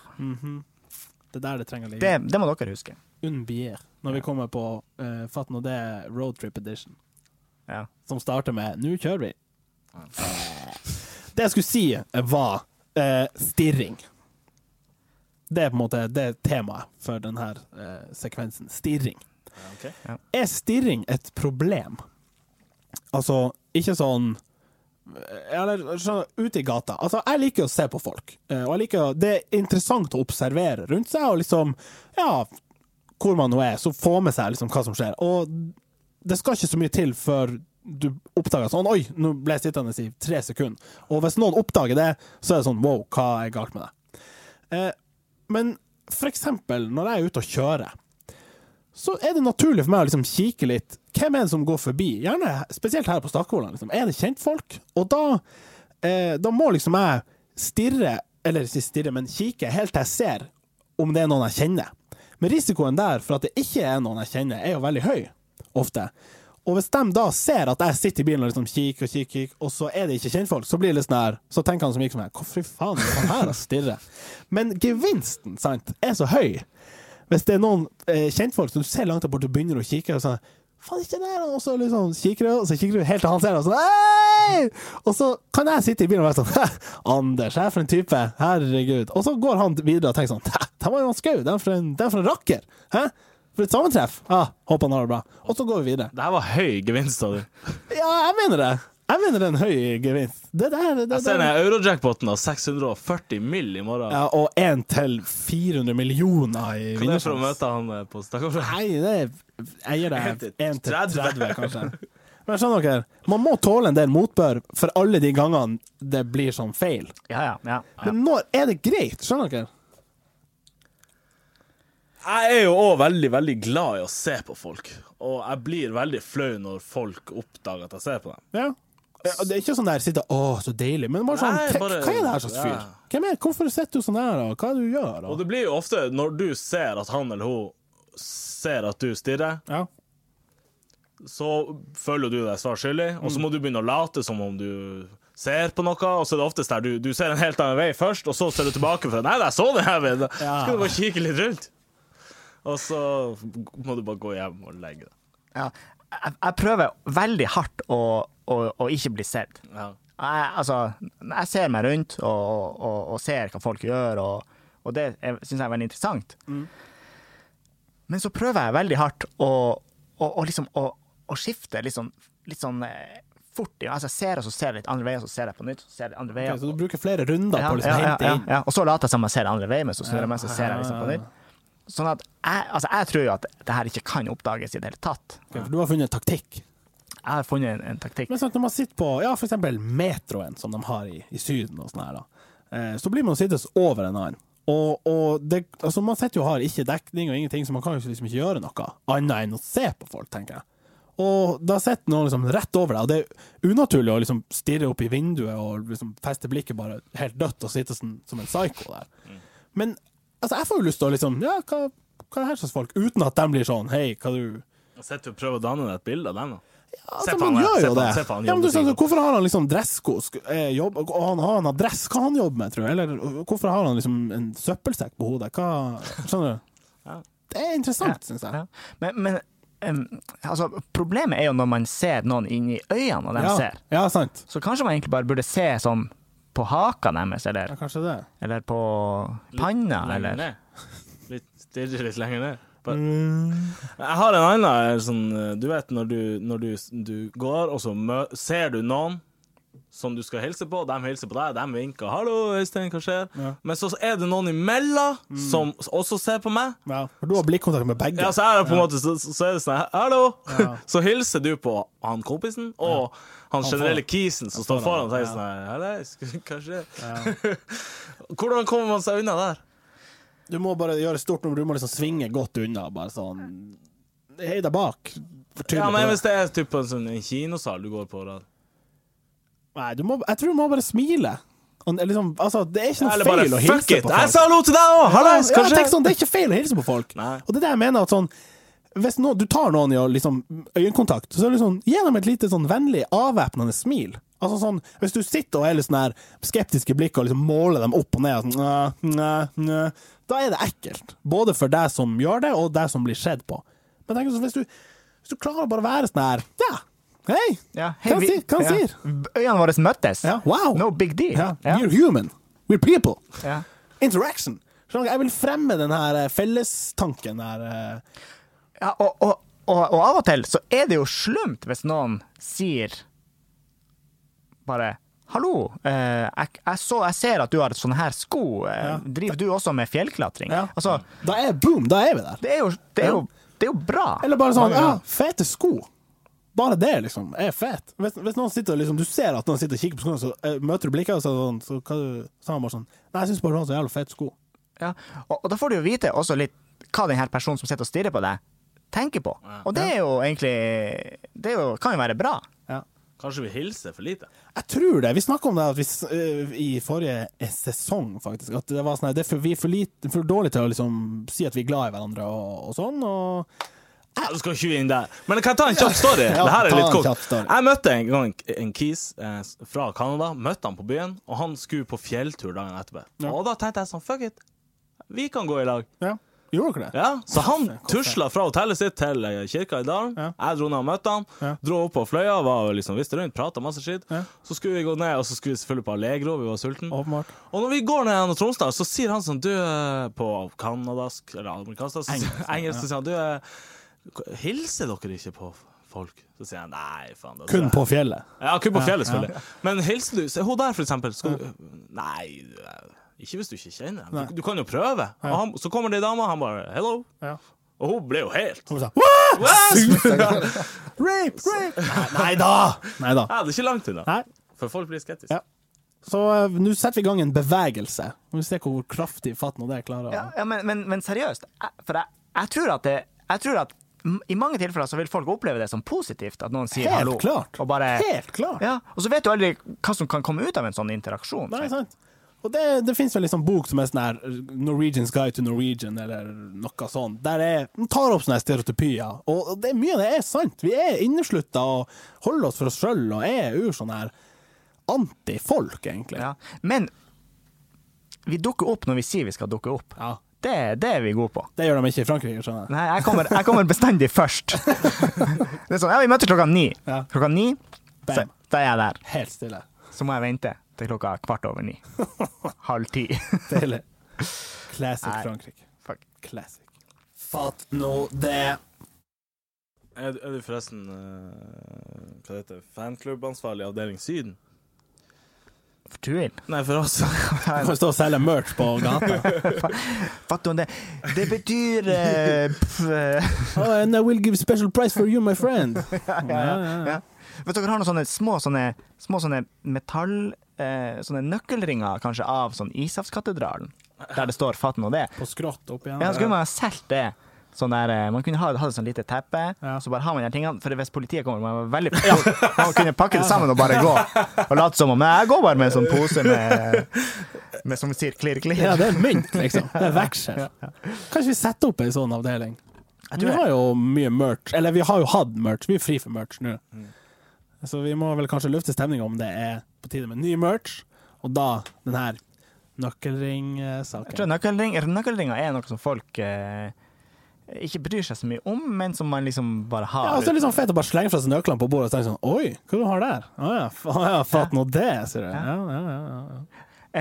Det er der det trenger å ligge. Det, det må dere huske. Un bier. Når vi kommer på uh, Fatt nå det roadtrip edition, Ja. som starter med 'Nå kjører vi'. Det jeg skulle si, var eh, stirring. Det er på en måte det er temaet for denne eh, sekvensen. Stirring. Ja. Er stirring et problem? Altså, ikke sånn eh, eller skjønner, du, ute i gata. Altså, jeg liker å se på folk. eh, Og jeg liker, å- det er interessant å observere rundt seg, og liksom Ja, hvor man nå er, så få med seg liksom hva som skjer. Og det skal ikke så mye til før du oppdager sånn Oi, nå ble jeg sittende i tre sekunder. Og hvis noen oppdager det, så er det sånn Wow, hva er galt med deg? Eh, men for eksempel, når jeg er ute og kjører, så er det naturlig for meg å liksom kikke litt. Hvem er det som går forbi? Gjerne spesielt her på Stakkevollan. Liksom. Er det kjentfolk? Og da, eh, da må liksom jeg stirre, eller ikke stirre, men kikke helt til jeg ser om det er noen jeg kjenner. Men risikoen der for at det ikke er noen jeg kjenner, er jo veldig høy, ofte. Og hvis de da ser at jeg sitter i bilen og liksom kikker og kikker, kikker, og så er det ikke kjentfolk, så blir det litt sånn her, så tenker han som gikk som her, hvorfor i faen er han her og stirrer? Men gevinsten, sant, er så høy hvis det er noen eh, kjentfolk som du ser langt der borte og begynner å kikke og sånn Faen, ikke der! Og så liksom kikker du, og så kikker du helt til han ser deg, og sånn Hei! Og så kan jeg sitte i bilen og være sånn «Hæ, Anders, jeg er for en type. Herregud. Og så går han videre og tenker sånn «Hæ, Den var jo en skau. Den er for en, den er for en rakker. Hæ? For et sammentreff. Ja, håper han har det bra. Og så går vi videre. Det her var høy gevinst av du. Ja, jeg mener det. Jeg mener det er en høy gevinst. Det der, det, Jeg det, ser den eurojackpoten av 640 mill. i morgen. Ja, og én til 400 millioner Hva er det for i å vinnersjanse. møte han eh, på Stakkarsjøen? Nei, det er, jeg gir En deg til 1 til 30. 30, kanskje. Men skjønner dere, man må tåle en del motbør for alle de gangene det blir sånn feil. Ja, ja, ja, ja. Men når er det greit? Skjønner dere? Jeg er jo òg veldig, veldig glad i å se på folk. Og jeg blir veldig flau når folk oppdager at jeg ser på dem. Ja. Det er ikke sånn der sitte 'Å, så deilig', men bare sånn Nei, «Hva- bare- Hva er det her slags fyr? ja. Hvem er, hvorfor sitter du sånn her, og hva er det du gjør? Og Og? det blir jo ofte når du ser at han eller hun ser at du stirrer, Ja. så føler du deg svar skyldig, og så må du begynne å late som om du ser på noe, og så er det oftest der du, du ser en helt annen vei først, og så ser du tilbake for Nei, jeg så den her veien! Så Ja. skal du bare kikke litt rundt. Og så må du bare gå hjem og legge deg. ja. Jeg, jeg prøver veldig hardt å, å, å ikke bli sett. Ja. Jeg, altså, jeg ser meg rundt og, og, og ser hva folk gjør, og, og det syns jeg er veldig interessant. Mm. Men så prøver jeg veldig hardt å, å, å, liksom, å, å skifte litt sånn, litt sånn eh, fort. i- Altså, jeg ser og så ser jeg litt andre veier, så ser jeg på nytt, så ser jeg litt andre veier. Ok, så du bruker flere runder på å liksom, ja, ja, hente ja, inn? Ah. ja. Og så later jeg som jeg ser andre veien, men så snur jeg meg, så ser jeg liksom på nytt. Sånn at jeg, altså, jeg tror jo at det her ikke kan oppdages i det hele tatt. Ok, for du har funnet en taktikk? Jeg har funnet en, en taktikk. Men sant, når man sitter på ja, for eksempel metroen som de har i, i Syden, og sånn her, da, eh, så blir man sittende over en annen. Og, og det, altså man sitter jo og har ikke dekning og ingenting, så man kan jo liksom ikke gjøre noe annet enn å se på folk, tenker jeg. Og da sitter noen liksom rett over deg, og det er unaturlig å liksom stirre opp i vinduet og liksom feste blikket bare helt dødt og sitte sånn, som en psyko der. Men altså, jeg får jo lyst til å liksom Ja, hva, hva er her slags folk? Uten at de blir sånn Hei, hva du Jeg sitter og prøver å danne deg et bilde av dem. da. Altså, Se på man han her. gjør Se jo på det. han. Se på han ja, men du, jobber sånn, sikkert. hvorfor har han liksom dressko? Sk- eh, jobb, og han, han har dress, hva han jobber med, tror du? Eller og hvorfor har han liksom en søppelsekk på hodet? Hva, skjønner du? Det er interessant, synes syns jeg. Ja. Men, men em, altså, problemet er jo når man ser noen inn i øynene og de Ja, ser. ja, sant. Så kanskje man egentlig bare burde se sånn på haka deres, eller, Ja, kanskje det. eller på panna, Lenger eller ned. Litt, stirre litt lenger ned. Bare. Mm. Jeg har en annen sånn eh, Du vet når du, når du, du går, og så mø ser du noen som du skal hilse på, de hilser på deg, de vinker 'hallo, Øystein, hva skjer?' Men så er det noen imellom som også ser på meg. Ja, for du har blikkontakt med begge. Mm. Ja, så er det på en måte Så, så er det sånn her, 'hallo', så hilser du på han kompisen og han generelle foran. kisen som står foran foran, og tenker sånn her 'hallais, hva skjer?' Hvordan kommer man seg unna der? Du må bare gjøre et stort nummer, du må liksom svinge godt unna. Bare sånn Hei deg bak. For tydelig Ja, på men det. hvis det er typ en, sånn, en kinosal du går på da. Nei, du må, jeg tror du må bare smile. Og Liksom, altså, det er ikke noe Eller bare feil å hilse fuck it! på folk. Jeg sa hallo til deg òg! Hallais, Ja, jeg kanskje? tenker sånn, det er ikke feil å hilse på folk. Nei. Og det er det jeg mener at sånn hvis noen, du tar noen i å liksom, øyekontakt, så er det sånn, gi dem et lite sånn vennlig, avvæpnende smil. Altså sånn, Hvis du sitter og er litt sånn her skeptiske blikk og liksom måler dem opp og ned og sånn, næ, næ, næ, da er det ekkelt. Både for deg som gjør det, og deg som blir sett på. Men tenk så hvis du, hvis du klarer å bare være sånn her Ja, hei! Ja, hva han vi- sier? Hva han ja. sier? Øynene våre møttes. Ja, wow! No big deal. Ja. Ja. You're human. We're people. Ja. Interaction. Skjønner du? Jeg vil fremme den her eh, fellestanken her. eh. Ja, og, og, og, og av og til så er det jo slumt hvis noen sier bare Hallo, eh, jeg, jeg, så, jeg ser at du har sånne her sko. Eh, Driver du også med fjellklatring? Ja. Altså, Da er boom, da er vi der. det er, jo, det, er jo, det er jo bra. Eller bare sånn Mange Ja, ganger. fete sko. Bare det, liksom, er fett. Hvis, hvis noen sitter og liksom Du ser at noen sitter og kikker på skoene, så eh, møter du blikket, og så, er det sånn, så, hva du- så er han bare sånn Nei, jeg syns bare du har så jævla fete sko. Ja. Og, og da får du jo vite også litt hva den her personen som sitter og stirrer på deg, tenker på. Og det er jo egentlig Det er jo, kan jo være bra. Kanskje vi hilser for lite? Jeg tror det. Vi snakka om det at vi, s- øh, i forrige sesong, faktisk. At det var sånn her, det er for, vi er for, lite, for dårlige til å liksom si at vi er glad i hverandre og, og sånn. Og Ja, du skal ikke vi inn der. Men jeg kan ta en kjapp story. Ja, det her er ta litt en kjapp kort. story. Jeg møtte en gang en kis eh, fra Canada. Møtte han på byen, og han skulle på fjelltur dagen etterpå. Og da tenkte jeg sånn, fuck it, vi kan gå i lag. ja, gjorde dere det? Ja, Så han tusla fra hotellet sitt til eh, kirka i dalen. Jeg dro ned og møtte han. Dro opp på fløya, var jo liksom visst rundt, prata masse skitt. Så skulle vi gå ned, og så skulle vi selvfølgelig på Allegro, vi var sultne. Åpenbart. Og når vi går ned gjennom Tromsdal, så sier han sånn Du eh, på kanadask Eller amerikansk da, så sier- Engelsk, så sier han Du eh, hilser dere ikke på folk? Så sier jeg nei, faen. det tror Kun jeg- på fjellet. Ja, kun på fjellet, selvfølgelig. Men hilser du Se, hun der, for eksempel. Skal du Nei, du, eh, ikke hvis du ikke kjenner henne. Du, du kan jo prøve. Og han, så kommer det ei dame, og han bare Hello. Ja. Og hun ble jo helt Og så, Rape, rape! Nei da! Nei da. Ja, det er ikke langt unna. Nei. For folk blir skeptiske. Ja. Så øh, nå setter vi i gang en bevegelse. Vi får se hvor kraftig fatt nå det klarer. Ja, å- ja men, men, men seriøst, jeg, for jeg, jeg tror at det jeg tror at m- i mange tilfeller så vil folk oppleve det som positivt at noen sier Helt hallo. klart. Og bare, Helt klart. Ja, og så vet du aldri hva som kan komme ut av en sånn interaksjon. Nei, sant. Og det, det finnes vel en sånn bok som er sånn her Norwegian's Guide to Norwegian, eller noe sånt. Der er, den tar opp sånne her stereotypier. Og det, er mye av det er sant. Vi er inneslutta og holder oss for oss sjøl og er jo sånn her antifolk, egentlig. Ja. Men vi dukker opp når vi sier vi skal dukke opp. Ja. Det, det er vi gode på. Det gjør de ikke i Frankrike, skjønner jeg. Nei, jeg kommer, jeg kommer bestandig først. Det er sånn, ja, vi møter klokka ni. Ja. Klokka ni, så, Bam. da er jeg der. Helt stille. Så må jeg vente til klokka kvart over ni. Halv ti. Deilig. Classic Nei. Frankrike. Fuck. Classic. Fatt nå det. Er, du- er du forresten eh, Hva heter det? Fanklubbansvarlig i Avdeling Syden? For turen. Nei, for oss. Du kan stå og selge merch på gata. Fattig om det. Det betyr eh, pff, eh, Oh, and I will give special price for you, my friend. ja. Vet dere har noen sånne små sånne, små sånne metall eh, Sånne nøkkelringer kanskje av sånn Ishavskatedralen, der det står 'Fatt nå det'. På skrått opp igjen. Ja, så kunne man ha solgt det. Sånn der, eh, man kunne ha, ha det sånn lite teppe, Ja. så bare har man de her tingene. For hvis politiet kommer, man, var veldig, man kunne pakke det sammen og bare gå. Og late som om "Nei, jeg går bare med en sånn pose med, med som sier klirr, klirr. Ja, det er mynt, liksom. Det er veksel. Kanskje vi setter opp en sånn avdeling? Vi har jo mye merch. Eller vi har jo hatt merch. Vi er fri for merch nå. Mm. Så vi må vel kanskje lufte stemninga om det er på tide med ny merch, og da den her Jeg tror nøkkelringsaken. nøkkelring, nøkkelringer er noe som folk eh, ikke bryr seg så mye om, men som man liksom bare har. Ja, og så er det litt sånn fett å bare slenge fra seg nøklene på bordet og tenke sånn Oi, hva du har der? Å ja, fa- å ja, fatt nå det, sier du. Ja, ja, ja, ja.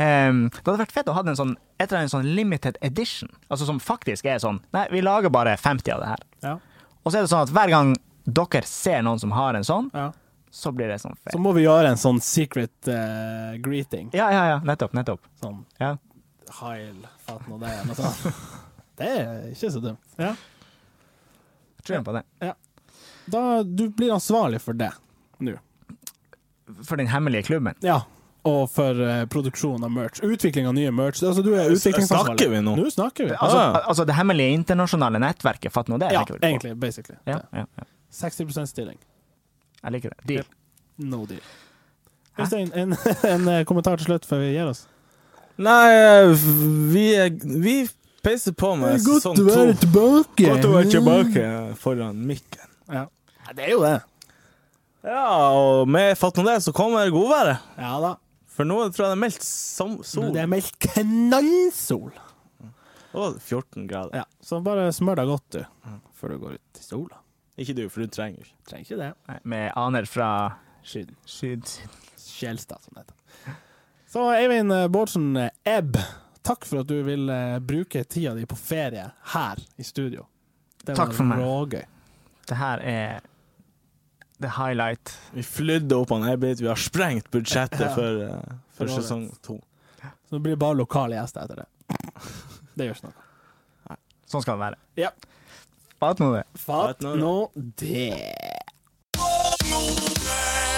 Ehm, det hadde vært fett å ha en sånn, et eller annet sånn limited edition, altså som faktisk er sånn Nei, vi lager bare 50 av det her. ja. Og så er det sånn at hver gang dere ser noen som har en sånn, ja. så blir det sånn fett. Så må vi gjøre en sånn secret eh, greeting. Ja, ja, ja. Nettopp. nettopp. Sånn Ja. Heil, fatt nå det, noe sånt. Det er ikke så dumt. Ja. Jeg tror jeg på det. Da, du blir ansvarlig for det nå. For den hemmelige klubben. Ja. Og for eh, produksjon av merch. Utvikling av nye merch. Altså, du er utviklingsansvarlig. snakker vi nå? Nå snakker vi. Altså, Ja, ja. altså det hemmelige internasjonale nettverket. Fatt nå det. Ah. ja, tenker vi på. egentlig. Basically. Ja, ja, ja. 60 stilling. Jeg liker det. Deal. No deal. Øystein, en, en eh, kommentar til slutt før vi gir oss. Nei, eh, vi, er- vi peiser på med sånn sesong to. tilbake. Godt å være tilbake foran mikken. Ja. ja, det er jo det. Ja, og med fatt nå det, så kommer godværet. Ja da. For nå tror jeg det er meldt som sol. Det er meldt knallsol. Og 14 grader. Ja, så bare smør deg godt, du, før du går ut i sola. Ikke du, for du trenger jo ikke. Mm. Trenger ikke det. Nei, Med aner fra Skyden. syd. Skjelstad, som det heter. Så Eivind eh, Bårdsen eh, Ebb, takk for at du vil eh, bruke tida di på ferie her i studio. Det Takk for meg. rågøy. Det her er the highlight. Vi flydde opp han Ebbit, vi har sprengt budsjettet Ja. for, eh, For for året. sesong to. Så det blir bare lokale gjester etter det. Det gjør ikke noe. Sånn skal det være. Ja. Fatt nå det. Fatt Fatt nå nå det.